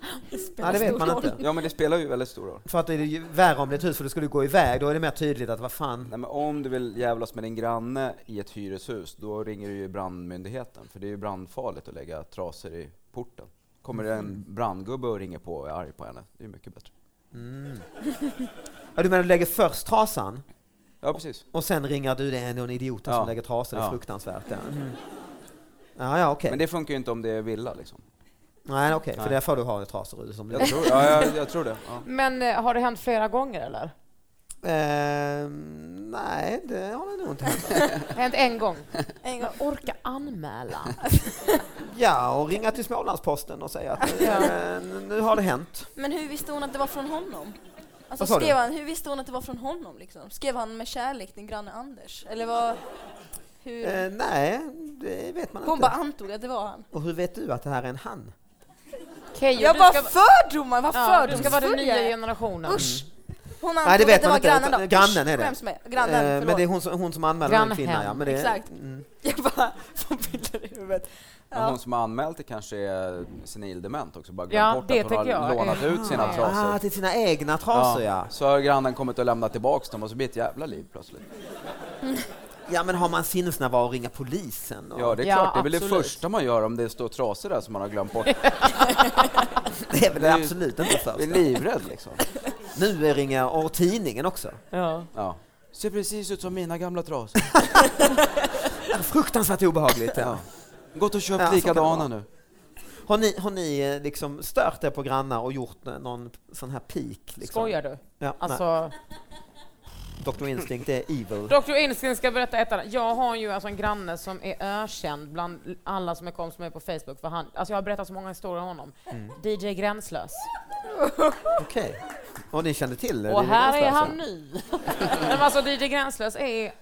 [SPEAKER 2] Ja, det vet man inte.
[SPEAKER 5] Ja men det spelar ju väldigt stor roll.
[SPEAKER 2] För att det är ju värre om det är ett hus för du skulle gå iväg, då är det mer tydligt att vad fan.
[SPEAKER 5] Nej, men om du vill jävlas med din granne i ett hyreshus, då ringer du ju brandmyndigheten. För det är ju brandfarligt att lägga trasor i porten. Kommer det en brandgubbe och ringer på och är arg på henne, det är mycket bättre.
[SPEAKER 2] Ja, du menar du lägger först trasan
[SPEAKER 5] Ja, precis.
[SPEAKER 2] och sen ringar du, det är ändå en idiot här
[SPEAKER 5] Ja.
[SPEAKER 2] som lägger trasor, det är
[SPEAKER 5] Ja.
[SPEAKER 2] fruktansvärt. Ja,
[SPEAKER 4] Mhm.
[SPEAKER 2] mm. ja, ja okej.
[SPEAKER 5] Men det funkar ju inte om det är villa liksom.
[SPEAKER 2] Nej okej, för
[SPEAKER 5] Nej.
[SPEAKER 2] där får du ha trasor i som
[SPEAKER 5] Jag
[SPEAKER 2] blir.
[SPEAKER 4] (laughs)
[SPEAKER 5] tror, ja, jag, jag tror det. Ja.
[SPEAKER 3] (laughs) Men eh, har det hänt flera gånger eller?
[SPEAKER 2] Ehm, nej, det har det nog inte hänt.
[SPEAKER 3] Hänt en gång.
[SPEAKER 4] En gång.
[SPEAKER 3] Men orka anmäla.
[SPEAKER 2] Ja, och ringa till Smålandsposten och säga att
[SPEAKER 3] Ja.
[SPEAKER 2] eh, nu har det hänt.
[SPEAKER 4] Men hur visste hon att det var från honom? Alltså,
[SPEAKER 2] Vad sa du?
[SPEAKER 4] skrev han, hur visste hon att det var från honom? Liksom? Skrev han med kärlek, din granne Anders? Eller vad... Hur?
[SPEAKER 2] Eh, nej, det vet man
[SPEAKER 4] hon
[SPEAKER 2] inte.
[SPEAKER 4] bara antog att det var han.
[SPEAKER 2] Och hur vet du att det här är en han?
[SPEAKER 3] Keyyo,
[SPEAKER 4] Jag
[SPEAKER 3] du
[SPEAKER 4] bara
[SPEAKER 3] ska,
[SPEAKER 4] fördomar, vad
[SPEAKER 3] ja, du ska vara den
[SPEAKER 4] fördomsfull
[SPEAKER 3] nya
[SPEAKER 4] jag är.
[SPEAKER 3] generationen.
[SPEAKER 4] Usch! Hon
[SPEAKER 2] Mm. Nej, det
[SPEAKER 4] antog
[SPEAKER 2] vet
[SPEAKER 4] att det
[SPEAKER 2] man
[SPEAKER 4] var
[SPEAKER 2] inte,
[SPEAKER 4] grannen
[SPEAKER 2] utan-
[SPEAKER 4] då.
[SPEAKER 2] grannen är det.
[SPEAKER 4] Skäms med.
[SPEAKER 2] Eh,
[SPEAKER 4] Grannen, förlåt.
[SPEAKER 2] men det är hon som, hon som anmäler en kvinna.
[SPEAKER 3] Grannhem.
[SPEAKER 2] Ja, men det,
[SPEAKER 4] Exakt.
[SPEAKER 2] Mm.
[SPEAKER 4] (laughs) Jag bara får bilder i huvudet.
[SPEAKER 5] Men
[SPEAKER 4] Ja.
[SPEAKER 5] hon som har anmält det kanske är senildement också, bara
[SPEAKER 3] Ja,
[SPEAKER 5] glömt bort
[SPEAKER 3] det
[SPEAKER 5] att hon har
[SPEAKER 3] tänker jag.
[SPEAKER 5] lånat ut sina
[SPEAKER 3] Ah.
[SPEAKER 2] Ah,
[SPEAKER 5] trasor.
[SPEAKER 2] till sina egna trasor ja.
[SPEAKER 5] Så har grannen kommit och lämnat tillbaks dem och så blir det ett jävla liv plötsligt.
[SPEAKER 2] Ja, men har man sinnesnärvaro att ringa polisen? Och...
[SPEAKER 5] Ja, det är
[SPEAKER 3] Ja,
[SPEAKER 5] klart. Det är väl det
[SPEAKER 3] absolut.
[SPEAKER 5] första man gör om det står trasor där som man har
[SPEAKER 3] (laughs)
[SPEAKER 5] glömt bort.
[SPEAKER 2] (laughs) det är väl
[SPEAKER 5] det är ju-
[SPEAKER 2] absolut inte först.
[SPEAKER 5] Blir livrädd liksom.
[SPEAKER 2] Nu ringer och tidningen också.
[SPEAKER 3] Ja.
[SPEAKER 5] Ja. Ser precis ut som mina gamla trasor.
[SPEAKER 2] Fruktansvärt obehagligt. Ja.
[SPEAKER 5] Ja. Gått och köpt
[SPEAKER 2] Ja, så kan det
[SPEAKER 5] likadana
[SPEAKER 2] vara.
[SPEAKER 5] nu.
[SPEAKER 2] Har ni, har ni eh, liksom stört er på grannar och gjort eh, någon sån här peak? Liksom?
[SPEAKER 3] Skojar du?
[SPEAKER 2] Ja, alltså...
[SPEAKER 3] Alltså,
[SPEAKER 2] Dr. Instinct är evil.
[SPEAKER 3] Dr. Instinct ska berätta ett annat. Jag har ju alltså en granne som är ökänd bland alla som är kompis med på Facebook. För han, alltså jag har berättat så många historier om honom.
[SPEAKER 2] Mm.
[SPEAKER 3] DJ Gränslös.
[SPEAKER 2] Okej. Och ni kände till det?
[SPEAKER 3] Och
[SPEAKER 2] Det
[SPEAKER 3] här
[SPEAKER 2] ganska
[SPEAKER 3] är han
[SPEAKER 2] alltså.
[SPEAKER 3] ny.
[SPEAKER 2] (laughs)
[SPEAKER 3] Nej, men alltså DJ Gränslös är...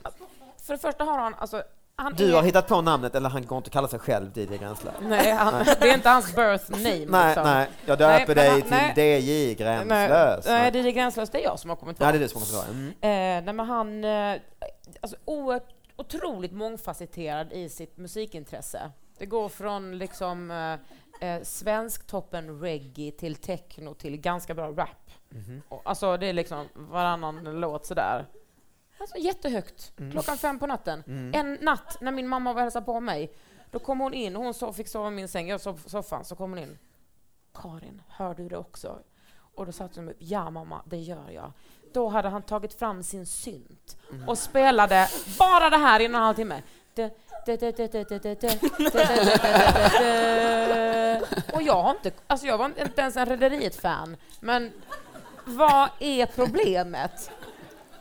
[SPEAKER 3] För det första har han... Alltså, han
[SPEAKER 2] Du
[SPEAKER 3] är,
[SPEAKER 2] har hittat på namnet, eller han går inte att kalla sig själv DJ Gränslöv.
[SPEAKER 3] Nej, han, det är inte hans birth name.
[SPEAKER 2] Nej,
[SPEAKER 3] liksom.
[SPEAKER 2] nej, jag
[SPEAKER 3] Nej,
[SPEAKER 2] döper
[SPEAKER 3] men
[SPEAKER 2] dig
[SPEAKER 3] han-
[SPEAKER 2] till
[SPEAKER 3] nej.
[SPEAKER 2] DJ Gränslös.
[SPEAKER 3] Nej, nej, DJ Gränslös, det är jag som har kommit på.
[SPEAKER 2] Ja, det är du som kommer tillbaka. Mm.
[SPEAKER 3] Eh, nej, men han... Eh, alltså, o- otroligt mångfacetterad i sitt musikintresse. Det går från liksom eh, eh, svensktoppen reggae till techno till ganska bra rap. Och, alltså, det är liksom varannan låt sådär. Alltså jättehögt. Klockan fem på natten. En natt när min mamma var och hälsade på mig, då kom hon in. Hon sov, fick sova i min säng. Jag sov på soffan. Så kom hon in. Karin, hör du det också? Och då satt hon upp. Ja, mamma, det gör jag. Då hade han tagit fram sin synt och spelade bara det här i en och en halv timme. Du, du, du, du, du, du, du, du, du, du, du, du, du, du. Och jag har inte, alltså jag var inte ens en Rederiet-fan, men vad är problemet?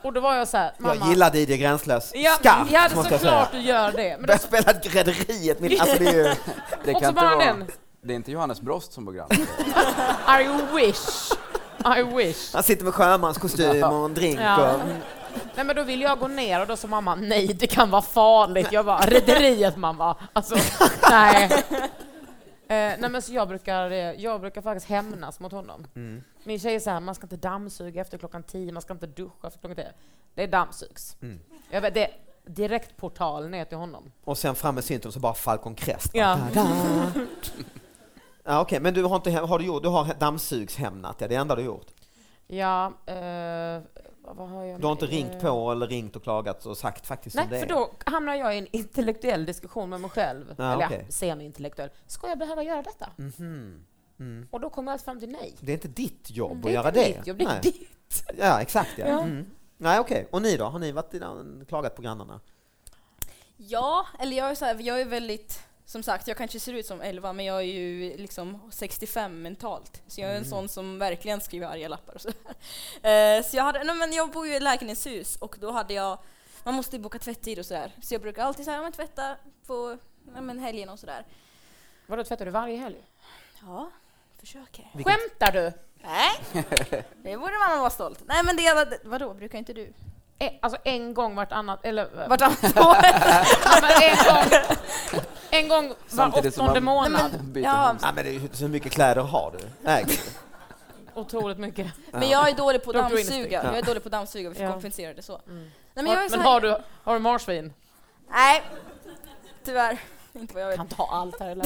[SPEAKER 3] Och då var jag så här, mamma.
[SPEAKER 2] Jag gillar DJ Gränslös
[SPEAKER 3] Ja,
[SPEAKER 2] skarpt,
[SPEAKER 3] ja,
[SPEAKER 2] måste jag säga.
[SPEAKER 3] såklart du gör det. Men då,
[SPEAKER 2] Börjar spela Rederiet, min- alltså det är ju...
[SPEAKER 5] Det
[SPEAKER 3] också bara den.
[SPEAKER 5] Det är inte Johannes Brost som bor granne.
[SPEAKER 3] I wish. I wish.
[SPEAKER 2] Han sitter med sjömanskostym och en drink
[SPEAKER 3] Ja.
[SPEAKER 2] och...
[SPEAKER 3] Nej, men då ville jag gå ner och då sa mamma nej, det kan vara farligt. Jag bara rederiet mamma. Alltså, nej. Eh, nej men så jag brukar, eh, jag brukar faktiskt hämnas mot honom.
[SPEAKER 2] Mm.
[SPEAKER 3] Min tjej är så här, man ska inte dammsuga efter klockan tio, man ska inte duscha efter klockan tio. Det är dammsugs.
[SPEAKER 2] Mm.
[SPEAKER 3] Jag vet, det är direktportal ner till honom.
[SPEAKER 2] Och sen fram med synten så bara Falcon Crest.
[SPEAKER 3] Ja.
[SPEAKER 2] Da, da. Ja, Okej, men du har, inte, har du, gjort, du har dammsugshämnat, ja, det är det enda du gjort.
[SPEAKER 3] Ja, eh, vad har jag
[SPEAKER 2] Du har inte
[SPEAKER 3] med?
[SPEAKER 2] ringt på eller ringt och klagat och sagt faktiskt
[SPEAKER 3] Nej,
[SPEAKER 2] som det är.
[SPEAKER 3] för då hamnar jag i en intellektuell diskussion med mig själv.
[SPEAKER 2] Ja,
[SPEAKER 3] Eller
[SPEAKER 2] okej. Mm.
[SPEAKER 3] ja, semi-intellektuell. Ska jag behöva göra detta? Och då kommer jag fram till nej.
[SPEAKER 2] Mhm. Det är inte ditt jobb
[SPEAKER 3] Det
[SPEAKER 2] att
[SPEAKER 3] är
[SPEAKER 2] göra
[SPEAKER 3] inte
[SPEAKER 2] det.
[SPEAKER 3] mitt jobb, det är (laughs)
[SPEAKER 2] Nej.
[SPEAKER 3] ditt.
[SPEAKER 2] Ja, exakt. Ja.
[SPEAKER 3] Ja.
[SPEAKER 2] Mm. Nej, okej. Och ni då? Har ni varit i den, klagat på grannarna?
[SPEAKER 4] Ja, eller jag är så här, jag är väldigt, som sagt, jag kanske ser ut som 11 men jag är ju liksom 65 mentalt. Så jag är en
[SPEAKER 2] Mm.
[SPEAKER 4] sån som verkligen skriver arga lappar och så. (laughs) Eh, så jag hade, nej, men jag bor ju i lägenhetshus och då hade jag, man måste ju boka tvättid och sådär. Så jag brukar alltid säga, ja men tvätta på ja, men helgen och sådär.
[SPEAKER 3] Vadå, tvättar du varje helg?
[SPEAKER 4] Ja, försöker.
[SPEAKER 2] Vilket-
[SPEAKER 3] Skämtar du?
[SPEAKER 4] Nej,
[SPEAKER 2] (laughs)
[SPEAKER 4] det borde man vara stolt. Nej men det, är- vadå, brukar inte du?
[SPEAKER 3] E- alltså en gång vartannat, (laughs) eller
[SPEAKER 4] Vartannat år?
[SPEAKER 3] ja, men en gång, en gång var
[SPEAKER 5] Samtidigt som
[SPEAKER 3] åttonde
[SPEAKER 5] man-
[SPEAKER 3] månad.
[SPEAKER 4] Nej,
[SPEAKER 5] Byter
[SPEAKER 4] Ja,
[SPEAKER 2] Ja, men det är, ju- hur mycket kläder har du?
[SPEAKER 3] (laughs)
[SPEAKER 2] Äger du?
[SPEAKER 3] Otroligt mycket.
[SPEAKER 4] men jag är dålig på att
[SPEAKER 3] Dr. Instinct.
[SPEAKER 4] dammsuga. Jag är dålig på att dammsuga, vi får
[SPEAKER 3] Ja.
[SPEAKER 4] kompensera det så. Nej,
[SPEAKER 3] Men,
[SPEAKER 4] men jag är så
[SPEAKER 3] men
[SPEAKER 4] här,
[SPEAKER 3] har, du, har du marsvin?
[SPEAKER 4] Nej, tyvärr. Inte vad jag vet.
[SPEAKER 3] Kan ta allt här eller?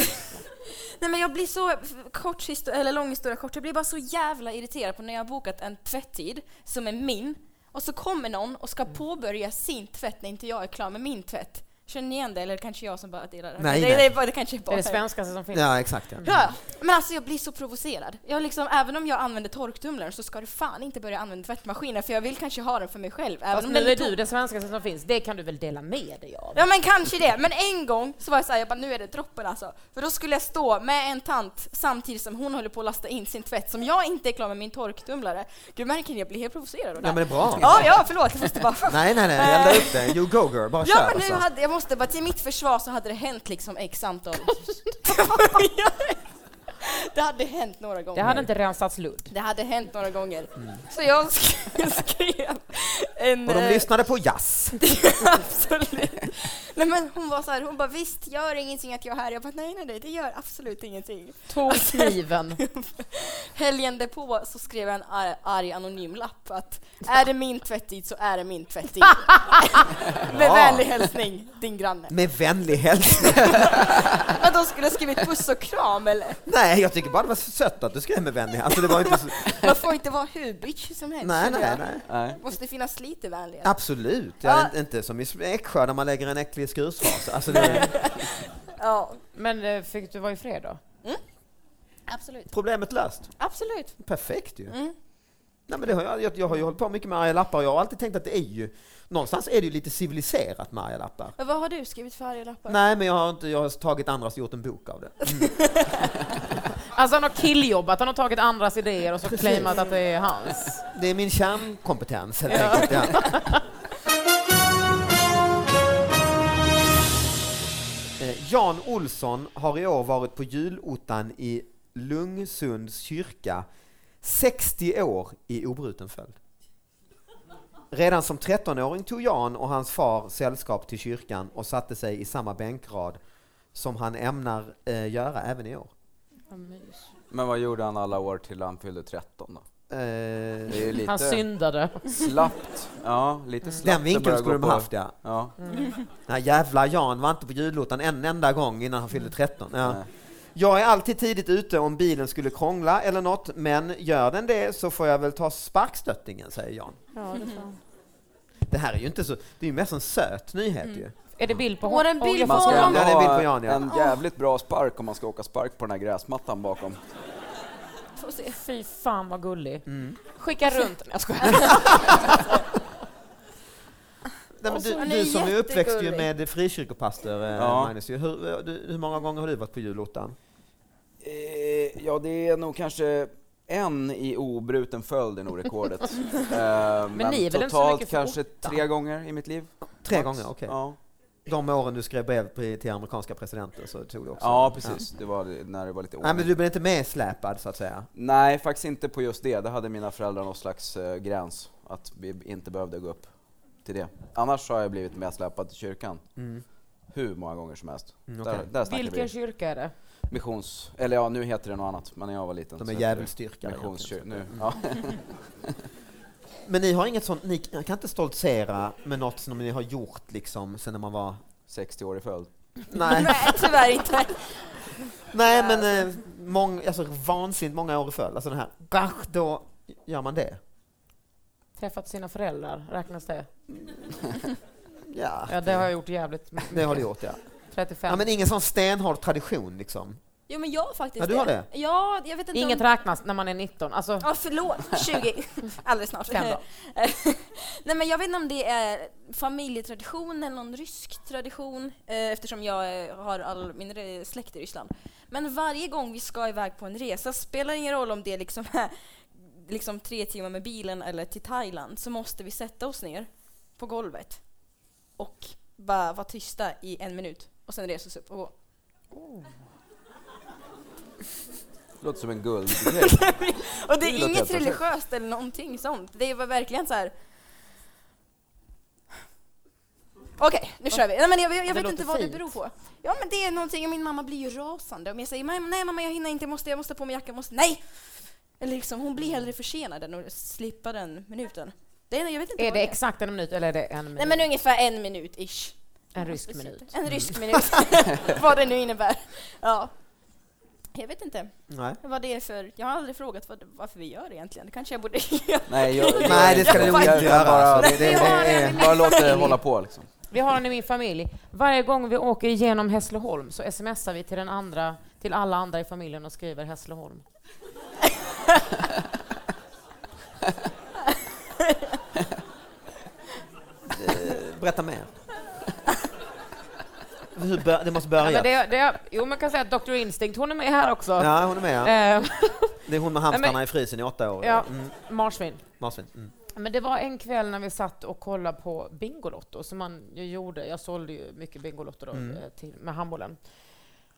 [SPEAKER 4] Nej men jag blir så, f- kort histo- eller lång historia kort, jag blir bara så jävla irriterad på när jag har bokat en tvätttid som är min och så kommer någon och
[SPEAKER 3] Mm.
[SPEAKER 4] ska påbörja sin tvätt när inte jag är klar med min tvätt. Känner ni igen det? Eller kanske jag som bara delar det? här?
[SPEAKER 2] Nej,
[SPEAKER 4] det,
[SPEAKER 2] nej.
[SPEAKER 4] Det, är bara- det kanske är
[SPEAKER 3] Det
[SPEAKER 4] bara
[SPEAKER 3] är det svenskaste som finns.
[SPEAKER 2] Ja, exakt. Ja.
[SPEAKER 3] Mm.
[SPEAKER 4] Ja, ja. men alltså jag blir så provocerad. Jag liksom, även om jag använder torktumlaren så ska du fan inte börja använda tvättmaskinen för jag vill kanske ha den för mig själv. Även
[SPEAKER 3] Fast
[SPEAKER 4] om
[SPEAKER 3] nu
[SPEAKER 4] den
[SPEAKER 3] är
[SPEAKER 4] tom.
[SPEAKER 3] du det svenskaste som finns. Det kan du väl dela med dig av?
[SPEAKER 4] Ja men kanske det, men en gång så var jag såhär, jag bara nu är det droppen alltså. För då skulle jag stå med en tant samtidigt som hon håller på att lasta in sin tvätt som jag inte är klar med min torktumlare. Du märker jag blir helt provocerad av det
[SPEAKER 2] Ja, men
[SPEAKER 4] här.
[SPEAKER 2] det är bra.
[SPEAKER 4] Ja, ja, förlåt, jag måste bara...
[SPEAKER 2] Nej, nej, nej. Elda upp det. You go girl. Bara kör.
[SPEAKER 4] Ja men nu
[SPEAKER 2] alltså.
[SPEAKER 4] hade, jag måste bara, till mitt försvar så hade det hänt liksom
[SPEAKER 3] (laughs)
[SPEAKER 4] x antal... (laughs) det hade hänt några gånger.
[SPEAKER 3] Det hade inte rensats ludd.
[SPEAKER 4] Det hade hänt några gånger. Så jag sk- (laughs) skrev en...
[SPEAKER 2] Och Mm. de
[SPEAKER 4] (laughs) eh,
[SPEAKER 2] lyssnade på jazz.
[SPEAKER 4] Absolut. Nej men hon var så här, hon bara visst gör ingenting att jag är här. Jag bara nej nej nej det gör absolut ingenting.
[SPEAKER 3] Tog kniven.
[SPEAKER 4] Helgen därpå så skrev jag en ar- arg anonym lapp att är det min tvättid så är det
[SPEAKER 2] (laughs)
[SPEAKER 4] min tvättid. Med vänlig hälsning din granne.
[SPEAKER 2] Med vänlig hälsning.
[SPEAKER 4] Att de skulle ha skrivit puss och kram eller?
[SPEAKER 2] (laughs) Nej, jag tycker bara det var sött att du skrev med vänlig. Alltså, det var inte
[SPEAKER 4] (laughs)
[SPEAKER 2] så...
[SPEAKER 4] Man får inte vara hur bitch som helst.
[SPEAKER 2] Nej,
[SPEAKER 4] känner
[SPEAKER 2] nej,
[SPEAKER 4] jag.
[SPEAKER 2] nej.
[SPEAKER 5] Nej.
[SPEAKER 4] Måste finnas lite vänlighet.
[SPEAKER 2] Absolut. Jag
[SPEAKER 4] Ja.
[SPEAKER 2] är inte som i Eksjö där man lägger en äcklig skursfras. Alltså, det...
[SPEAKER 4] (laughs) Ja,
[SPEAKER 3] Men eh, fick du vara i fred då?
[SPEAKER 4] absolut.
[SPEAKER 2] Problemet löst.
[SPEAKER 4] Absolut.
[SPEAKER 2] Perfekt ju.
[SPEAKER 4] Mm.
[SPEAKER 2] Nej, men det har jag, jag, jag har ju hållit på mycket med arga lappar och jag har alltid tänkt att det är ju... Någonstans är det ju lite civiliserat med arga lappar.
[SPEAKER 4] Men vad har du skrivit för arga lappar?
[SPEAKER 2] Nej, men jag har, inte, jag har tagit andras och gjort en bok av det.
[SPEAKER 3] Alltså han har killjobbat, han har tagit andras idéer och så claimat att det är hans.
[SPEAKER 2] Det är min kärnkompetens helt enkelt. Ja. Eh, Jan Olsson har i år varit på julottan i Lungsunds kyrka 60 år i obruten följd. Redan som 13-åring tog Jan och hans far sällskap till kyrkan och satte sig i samma bänkrad som han ämnar eh, göra även i år.
[SPEAKER 5] Men vad gjorde han alla år till han fyllde 13 då?
[SPEAKER 2] Eh,
[SPEAKER 5] Det är ju lite
[SPEAKER 3] Han syndade.
[SPEAKER 5] slappt. Ja, lite slappt.
[SPEAKER 2] den
[SPEAKER 5] att
[SPEAKER 2] vinkeln
[SPEAKER 5] börja
[SPEAKER 2] skulle
[SPEAKER 5] gå
[SPEAKER 2] de
[SPEAKER 5] på-
[SPEAKER 2] haft ja.
[SPEAKER 5] Ja.
[SPEAKER 2] Nej, jävla Jan var inte på julottan en enda gång innan han fyllde 13. Ja.
[SPEAKER 5] Nej.
[SPEAKER 2] Jag är alltid tidigt ute om bilen skulle krångla eller något, men gör den det så får jag väl ta sparkstöttingen, säger Jan. Det här är ju inte så, det är ju mest en söt nyhet
[SPEAKER 4] Mm.
[SPEAKER 2] ju.
[SPEAKER 3] Är det bild på
[SPEAKER 4] Åh, den
[SPEAKER 3] hon-
[SPEAKER 4] bild
[SPEAKER 3] Olofsson?
[SPEAKER 4] på honom.
[SPEAKER 2] Ja, det är en bild på Jan, ja.
[SPEAKER 5] en jävligt bra spark om man ska åka spark på den här gräsmattan bakom.
[SPEAKER 4] Får se.
[SPEAKER 3] Fy fan vad gullig.
[SPEAKER 2] Mm.
[SPEAKER 3] Skicka runt. Nej, Jag skojar.
[SPEAKER 2] Nej, men
[SPEAKER 4] Och så-
[SPEAKER 2] du,
[SPEAKER 4] Han
[SPEAKER 2] du
[SPEAKER 4] är
[SPEAKER 2] som är uppväxt ju
[SPEAKER 4] jättegullig.
[SPEAKER 2] med frikyrkopastor, eh,
[SPEAKER 5] Ja.
[SPEAKER 2] Magnus, ju. hur, du, hur många gånger har du varit på julottan?
[SPEAKER 5] Eh, ja, det är nog kanske en i obruten följd är nog (laughs) rekordet. Eh, men,
[SPEAKER 3] ni är väl inte så
[SPEAKER 5] totalt
[SPEAKER 3] mycket för
[SPEAKER 5] kanske
[SPEAKER 3] åtta?
[SPEAKER 5] tre gånger i mitt liv.
[SPEAKER 2] Tre
[SPEAKER 5] max.
[SPEAKER 2] gånger, okej.
[SPEAKER 5] Ja.
[SPEAKER 2] De åren du skrev brev pri- till amerikanska presidenter så tog du också?
[SPEAKER 5] ja, precis. Det var det- när det var lite
[SPEAKER 2] Ja. Nej, men
[SPEAKER 5] ordning.
[SPEAKER 2] du blev inte medsläpad så att säga?
[SPEAKER 5] Nej, faktiskt inte på just det. Det hade mina föräldrar någon slags eh, gräns, att vi inte behövde gå upp till det. Annars har jag blivit medsläpad till kyrkan
[SPEAKER 2] Mm.
[SPEAKER 5] hur många gånger som helst.
[SPEAKER 2] Mm, okej.
[SPEAKER 5] Där, där snackar
[SPEAKER 3] Vilken
[SPEAKER 5] vi
[SPEAKER 3] kyrka är det?
[SPEAKER 5] missions... Eller ja, nu heter det något annat, men när jag var liten
[SPEAKER 2] De
[SPEAKER 5] så
[SPEAKER 2] är
[SPEAKER 5] hette det
[SPEAKER 2] jävligt styrka.
[SPEAKER 5] Missionskyrkan. Nu.
[SPEAKER 2] Mm.
[SPEAKER 5] Ja. (laughs)
[SPEAKER 2] Men ni har inget sånt, ni kan inte stoltsera med något som ni har gjort liksom sen när man var...
[SPEAKER 5] 60 år i följd.
[SPEAKER 2] Nej,
[SPEAKER 4] (laughs) Nej, tyvärr inte.
[SPEAKER 2] nej men eh, mång, alltså, vansinnigt många år i följd. Alltså den här, gach, då gör man det.
[SPEAKER 3] Träffat sina föräldrar, räknas det?
[SPEAKER 2] Ja,
[SPEAKER 3] Ja, det har jag gjort jävligt
[SPEAKER 2] (laughs)
[SPEAKER 3] mycket.
[SPEAKER 2] det har du gjort ja.
[SPEAKER 3] 35.
[SPEAKER 2] ja men ingen sån stenhård tradition liksom.
[SPEAKER 4] Jo men jag har faktiskt
[SPEAKER 2] Ja, du har
[SPEAKER 4] Ja, jag vet inte
[SPEAKER 3] Inget
[SPEAKER 4] om...
[SPEAKER 3] räknas när man är 19. Alltså,
[SPEAKER 4] Ja, förlåt.
[SPEAKER 3] (laughs)
[SPEAKER 4] 20. Alldeles snart.
[SPEAKER 3] Fem då.
[SPEAKER 4] (laughs) Nej men jag vet inte om det är familjetradition eller någon rysk tradition eh, eftersom jag eh, har all min re- släkt i Ryssland. Men varje gång vi ska iväg på en resa, spelar ingen roll om det liksom är liksom tre timmar med bilen eller till Thailand, så måste vi sätta oss ner på golvet och bara vara tysta i en minut och sen resa oss upp och gå.
[SPEAKER 5] Låter som en guldgrej.
[SPEAKER 4] (laughs)
[SPEAKER 2] (laughs)
[SPEAKER 4] Och det
[SPEAKER 5] Det låter
[SPEAKER 4] är
[SPEAKER 5] helt
[SPEAKER 4] inget
[SPEAKER 5] perfekt.
[SPEAKER 4] religiöst eller någonting sånt. Det var verkligen så här. Okej, nu kör vi. Nej, men jag jag,
[SPEAKER 3] Det
[SPEAKER 4] jag vet
[SPEAKER 3] låter
[SPEAKER 4] inte vad
[SPEAKER 3] fint.
[SPEAKER 4] det beror på. Ja, men det är någonting. Min mamma blir ju rasande om jag säger "Mam- nej mamma, jag hinner inte, jag måste, jag måste ha på mig jackan, jag måste, nej! Eller liksom, hon blir hellre försenad än att slippa den minuten. Det är, jag vet inte
[SPEAKER 3] är
[SPEAKER 4] vad
[SPEAKER 3] det exakt en minut eller är det en minut?
[SPEAKER 4] Nej men ungefär en minut ish.
[SPEAKER 3] en rysk minut.
[SPEAKER 4] En
[SPEAKER 3] (laughs)
[SPEAKER 4] rysk minut. (laughs) vad det nu innebär. Ja. Jag vet inte
[SPEAKER 2] Nej.
[SPEAKER 4] vad det är för... Jag har aldrig frågat vad, varför vi gör det egentligen. Det kanske jag borde (laughs) göra.
[SPEAKER 5] Nej, jag, jag,
[SPEAKER 2] Nej, det ska
[SPEAKER 5] jag-
[SPEAKER 2] du nog
[SPEAKER 5] jag
[SPEAKER 2] inte
[SPEAKER 5] kan
[SPEAKER 2] göra,
[SPEAKER 5] Bara,
[SPEAKER 2] alltså. Det- det-
[SPEAKER 5] bara-
[SPEAKER 2] det är-
[SPEAKER 5] bara låt det hålla på liksom.
[SPEAKER 3] Vi har en i min familj. Varje gång vi åker igenom Hässleholm så smsar vi till, den andra, till alla andra i familjen och skriver Hässleholm.
[SPEAKER 2] Berätta mer. Hur bör, det måste
[SPEAKER 3] Ja,
[SPEAKER 2] börja.
[SPEAKER 3] men Alltså, det, det, jo, man kan säga att Dr Instinct, hon är med här också.
[SPEAKER 2] Ja, hon är med.
[SPEAKER 3] Eh, (laughs)
[SPEAKER 2] Det är hon med hamstrarna
[SPEAKER 3] Ja, men-
[SPEAKER 2] i frysen i åtta år.
[SPEAKER 3] Ja.
[SPEAKER 2] Mm,
[SPEAKER 3] marsvin.
[SPEAKER 2] marsvin. Mm.
[SPEAKER 3] Men det var en kväll när vi satt och kollade på Bingolotto, som man ju gjorde. Jag sålde ju mycket Bingolotto då, eh, till, med handbollen.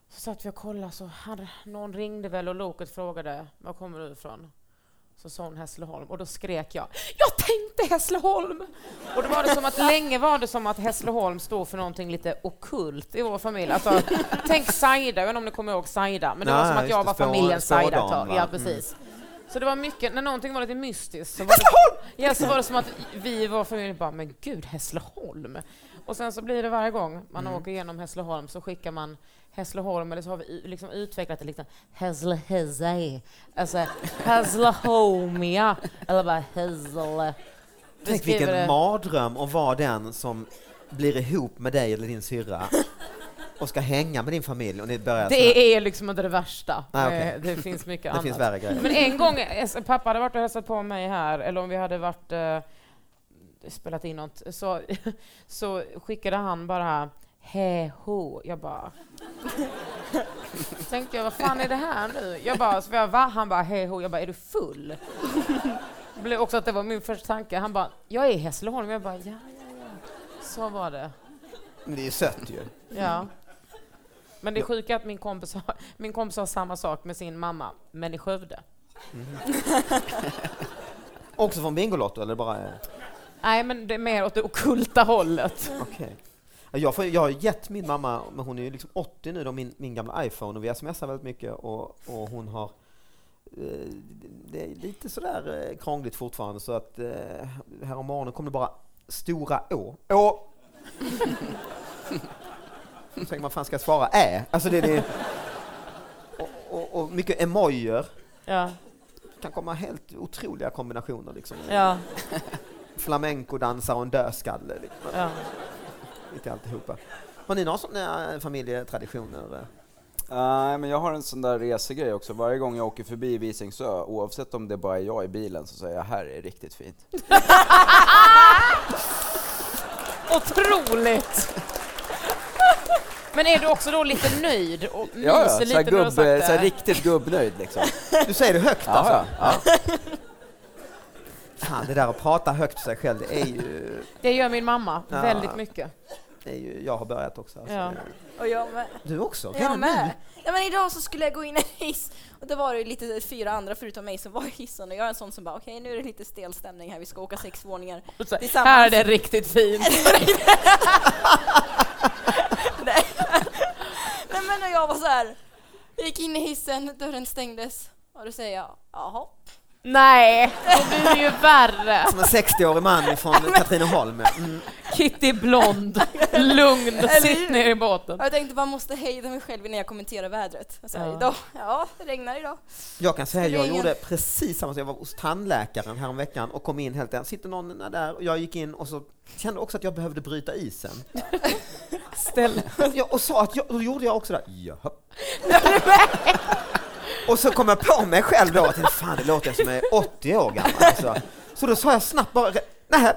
[SPEAKER 3] Så satt vi och kollade, så hade, någon ringde väl och loket frågade var kommer du ifrån? Så sa hon Hässleholm och då skrek jag Jag tänkte Hässleholm! Och då var det som att länge var det som att Hässleholm stod för någonting lite okult i vår familj. Alltså, tänk Saida, jag vet inte om ni kommer ihåg Saida, men det var
[SPEAKER 2] Nej,
[SPEAKER 3] som att jag
[SPEAKER 2] just
[SPEAKER 3] var
[SPEAKER 2] det, spå-
[SPEAKER 3] familjen
[SPEAKER 2] spådam,
[SPEAKER 3] Saida ett tag.
[SPEAKER 2] va?
[SPEAKER 3] Ja,
[SPEAKER 2] Mm.
[SPEAKER 3] precis. Så det var mycket, när någonting var lite mystiskt så var, det, ja, så var det som att vi var familjen bara, men gud Hässleholm! Och sen så blir det varje gång man
[SPEAKER 2] Mm.
[SPEAKER 3] åker igenom Hässleholm så skickar man Hässleholm, eller så har vi u- liksom utvecklat det liksom Hässle-Hässle, alltså Hässleholmia, eller bara Hässle. Vi
[SPEAKER 2] Tänk
[SPEAKER 3] skriver
[SPEAKER 2] vilken
[SPEAKER 3] det-
[SPEAKER 2] mardröm att vara den som blir ihop med dig eller din syrra och ska hänga med din familj och ni börjar sådär.
[SPEAKER 3] Det är liksom inte det värsta.
[SPEAKER 2] Nej, alltså. Ah, okej.
[SPEAKER 3] Eh, Det finns
[SPEAKER 2] (laughs)
[SPEAKER 3] mycket
[SPEAKER 2] Det
[SPEAKER 3] annat.
[SPEAKER 2] finns värre grejer.
[SPEAKER 3] Men en gång, eh, pappa hade varit och hälsat på mig här, eller om vi hade varit eh, spelat in något, så, (laughs) så skickade han bara hej ho. Jag bara... (laughs) tänkte jag, vad fan är det här nu? Jag bara, så jag, va? Han bara hej ho. Jag bara, är du full? Det blev också att det var min första tanke. Han bara, jag är i Hässleholm. Jag bara, ja, ja, ja. Så var det.
[SPEAKER 2] Men det är ju sött ju.
[SPEAKER 3] Ja. Men det är sjuka är att min kompis, har, min kompis har samma sak med sin mamma, men i Skövde.
[SPEAKER 2] Också från Bingolotto eller bara? eh,
[SPEAKER 3] Nej, men det är mer åt det ockulta hållet.
[SPEAKER 2] Okej. Jag, får, jag har gett min mamma, men hon är ju liksom 80 nu, då, min, min gamla iPhone och vi smsar väldigt mycket och, och hon har eh, det är lite sådär eh, krångligt fortfarande så att eh, här om morgonen kom det bara stora Å. Å! Så tänker man, fan ska jag svara Ä? Alltså det, det och, och, och mycket emojer.
[SPEAKER 3] Ja.
[SPEAKER 2] kan komma helt otroliga kombinationer liksom.
[SPEAKER 3] Ja.
[SPEAKER 2] Flamencodansare och en dödskalle. Liksom
[SPEAKER 3] ja.
[SPEAKER 2] mitt i alltihopa. Har ni några sådana familjetraditioner? eh?
[SPEAKER 5] Nej, men jag har en sån där resegrej också. Varje gång jag åker förbi Visingsö, oavsett om det bara är jag i bilen, så säger jag här är riktigt fint.
[SPEAKER 3] Otroligt! Men är du också då lite nöjd och myser
[SPEAKER 5] Ja, ja. Så här
[SPEAKER 3] Mm, lite när du har
[SPEAKER 5] gubb, så
[SPEAKER 3] sagt
[SPEAKER 5] här
[SPEAKER 3] det?
[SPEAKER 5] riktigt gubbnöjd
[SPEAKER 2] (laughs)
[SPEAKER 5] liksom.
[SPEAKER 2] Du säger det högt alltså?
[SPEAKER 5] Ja, ja. ja.
[SPEAKER 2] Fan, det där att prata högt för sig själv, det är ju...
[SPEAKER 3] Det gör min mamma
[SPEAKER 2] Ja.
[SPEAKER 3] väldigt mycket.
[SPEAKER 2] Det är ju jag har börjat också. Alltså.
[SPEAKER 3] Ja.
[SPEAKER 4] Och jag med.
[SPEAKER 2] Du också?
[SPEAKER 4] Jag
[SPEAKER 2] Redan
[SPEAKER 4] med.
[SPEAKER 2] nu?
[SPEAKER 4] Ja, men idag så skulle jag gå in i en hiss och då var det ju lite fyra andra förutom mig som var i hissen och jag är en sån som bara okej nu är det lite stel stämning här, vi ska åka sex våningar. (laughs)
[SPEAKER 3] Och så här,
[SPEAKER 4] Tillsammans.
[SPEAKER 3] Här är det riktigt fint.
[SPEAKER 4] Nej. Nej men och jag var så här. jag gick in i hissen, dörren stängdes och då säger jag jaha.
[SPEAKER 3] Nej, då blir det ju värre.
[SPEAKER 2] Som en 60-årig man
[SPEAKER 4] (laughs)
[SPEAKER 2] från Katrineholm. Mm.
[SPEAKER 3] Kitty blond, lugn,
[SPEAKER 4] Eller
[SPEAKER 3] sitt
[SPEAKER 4] hur?
[SPEAKER 3] ner i båten.
[SPEAKER 4] Och jag tänkte bara måste hejda mig själv innan jag kommenterar vädret. Och Så här,
[SPEAKER 3] Ja.
[SPEAKER 4] idag, ja det regnar idag.
[SPEAKER 2] Jag kan säga, jag
[SPEAKER 4] Ringen.
[SPEAKER 2] gjorde precis samma sak. Jag var hos tandläkaren häromveckan och kom in helt en. Sitter någon där och jag gick in och så kände också att jag behövde bryta isen.
[SPEAKER 3] Ställ
[SPEAKER 2] Jag, och sa att jag, då gjorde jag också det. Jaha. och så kom jag på mig själv då, att fan det låter jag som jag är 80 år gammal. Alltså. Så då sa jag snabbt bara, nej.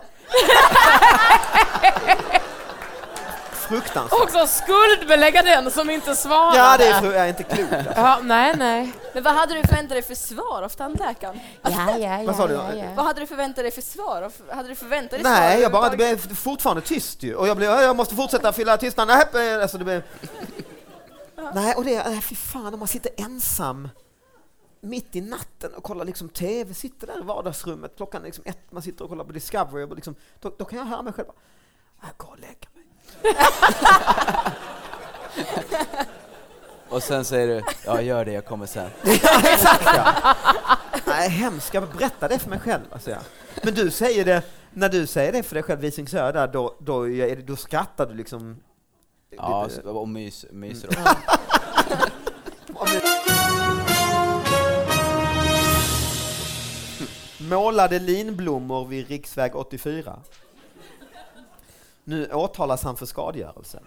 [SPEAKER 2] Fruktansvärt.
[SPEAKER 3] också skuldbelägga den som inte svarade.
[SPEAKER 2] Ja, det är, fru- jag är inte klok. Alltså.
[SPEAKER 3] Ja, nej, nej.
[SPEAKER 4] Men vad hade du förväntat dig för svar av tandläkaren?
[SPEAKER 3] Ja, ja,
[SPEAKER 2] Vad sa du?
[SPEAKER 4] Vad hade du förväntat dig för svar? av- Hade du förväntat dig svar
[SPEAKER 2] Nej, jag bara, det
[SPEAKER 4] överhuvudtaget?
[SPEAKER 2] blev fortfarande tyst ju. Och jag blev, "Ja, jag måste fortsätta fylla tystnaden. Nej, Alltså, det blev... Nej, och det, nej, fy fan, om man sitter ensam mitt i natten och kollar liksom TV, sitter där i vardagsrummet, klockan är liksom ett, man sitter och kollar på Discovery, och liksom, då, då kan jag höra mig själv bara, jag går och lägger mig.
[SPEAKER 5] Och sen säger du, ja gör det, jag
[SPEAKER 2] (laughs)
[SPEAKER 5] kommer sen.
[SPEAKER 2] ja, exakt ja. Nej, hemskt. Jag berättar det för mig själv. Alltså, ja. Men du säger det, när du säger det för dig själv, Visingsö, där, då, då, är det- då skrattar du liksom.
[SPEAKER 5] Ja,
[SPEAKER 2] Det-
[SPEAKER 5] så- och mys, myser
[SPEAKER 2] Mm.
[SPEAKER 5] också.
[SPEAKER 2] Målade linblommor vid riksväg 84. Nu åtalas han för skadegörelse.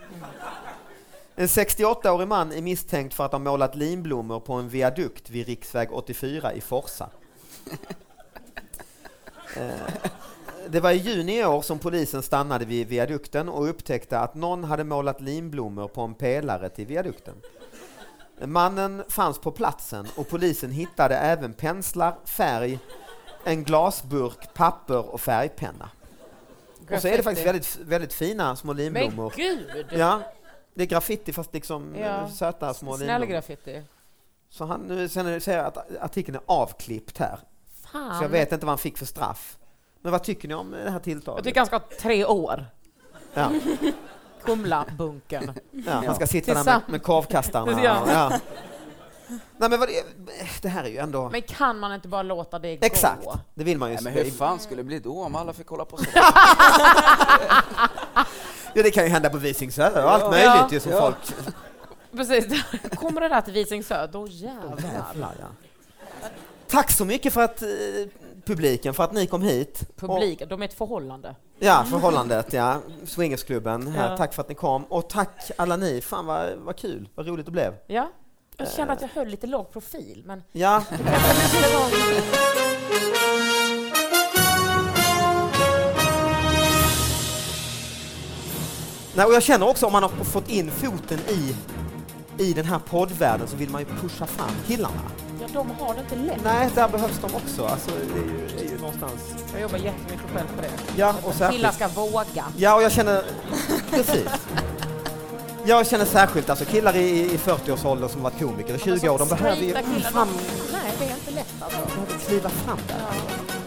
[SPEAKER 2] En 68-årig man är misstänkt för att ha målat linblommor på en viadukt vid riksväg 84 i Forsa. Eh, Det var i juni i år som polisen stannade vid viadukten och upptäckte att någon hade målat linblommor på en pelare till viadukten. Mannen fanns på platsen och polisen hittade även penslar, färg, en glasburk, papper och färgpenna. Och så är det faktiskt väldigt, väldigt fina små
[SPEAKER 3] Men
[SPEAKER 2] linblommor.
[SPEAKER 3] gud!
[SPEAKER 2] Ja, det är graffiti fast liksom
[SPEAKER 3] Ja.
[SPEAKER 2] eh, söta små
[SPEAKER 3] Snäll
[SPEAKER 2] linor.
[SPEAKER 3] graffiti.
[SPEAKER 2] Så han nu sen säger jag att artikeln är avklippt här.
[SPEAKER 3] fan.
[SPEAKER 2] Så jag vet inte vad han fick för straff. Men vad tycker ni om det här
[SPEAKER 3] Jag
[SPEAKER 2] tilltaget?
[SPEAKER 3] tycker han ska ha tre år.
[SPEAKER 2] ja. (laughs)
[SPEAKER 3] Kumla-bunken.
[SPEAKER 2] Ja, han ska sitta där med,
[SPEAKER 3] Tillsammans.
[SPEAKER 2] med korvkastaren. här.
[SPEAKER 3] (laughs) Ja.
[SPEAKER 2] Ja. Nej, men vad det, det här är ju ändå...
[SPEAKER 3] Men kan man inte bara låta det gå?
[SPEAKER 2] Exakt, det vill man ju.
[SPEAKER 5] Nej, men hur fan skulle det bli då om alla fick kolla på så?
[SPEAKER 2] ja, det kan ju hända på Visingsö och allt
[SPEAKER 5] Ja.
[SPEAKER 2] möjligt
[SPEAKER 3] Ja.
[SPEAKER 2] ju som
[SPEAKER 5] Ja.
[SPEAKER 2] folk...
[SPEAKER 3] Precis. (laughs) Kommer det där till Visingsö, då jävlar.
[SPEAKER 2] Jävlar, ja. Tack så mycket för att eh, publiken, för att ni kom hit.
[SPEAKER 3] Publik, de är ett förhållande.
[SPEAKER 2] Och, ja, förhållandet, ja. Swingersklubben här,
[SPEAKER 3] Ja.
[SPEAKER 2] tack för att ni kom. Och tack alla ni, fan vad, vad kul, vad roligt det blev.
[SPEAKER 3] Ja. Jag kände att jag höll lite låg profil, men
[SPEAKER 2] (laughs) Ja, Nej, och jag känner också om man har fått in foten i, i den här poddvärlden så vill man ju pusha fram killarna.
[SPEAKER 3] ja, de har det inte lätt.
[SPEAKER 2] Nej, där behövs de också. Alltså, det, är ju, det är ju någonstans...
[SPEAKER 3] Jag jobbar jättemycket själv på det.
[SPEAKER 2] Ja, och
[SPEAKER 3] Killar
[SPEAKER 2] särskilt...
[SPEAKER 3] ska våga.
[SPEAKER 2] Ja, och jag känner... Precis. Jag känner särskilt alltså killar i, i 40-årsåldern som varit komiker i 20 år, de behöver ju
[SPEAKER 3] Alltså, Straighta killar,
[SPEAKER 2] fram,
[SPEAKER 3] de- Nej, det är inte lätt alltså.
[SPEAKER 2] de behöver kliva fram där.
[SPEAKER 3] Ja.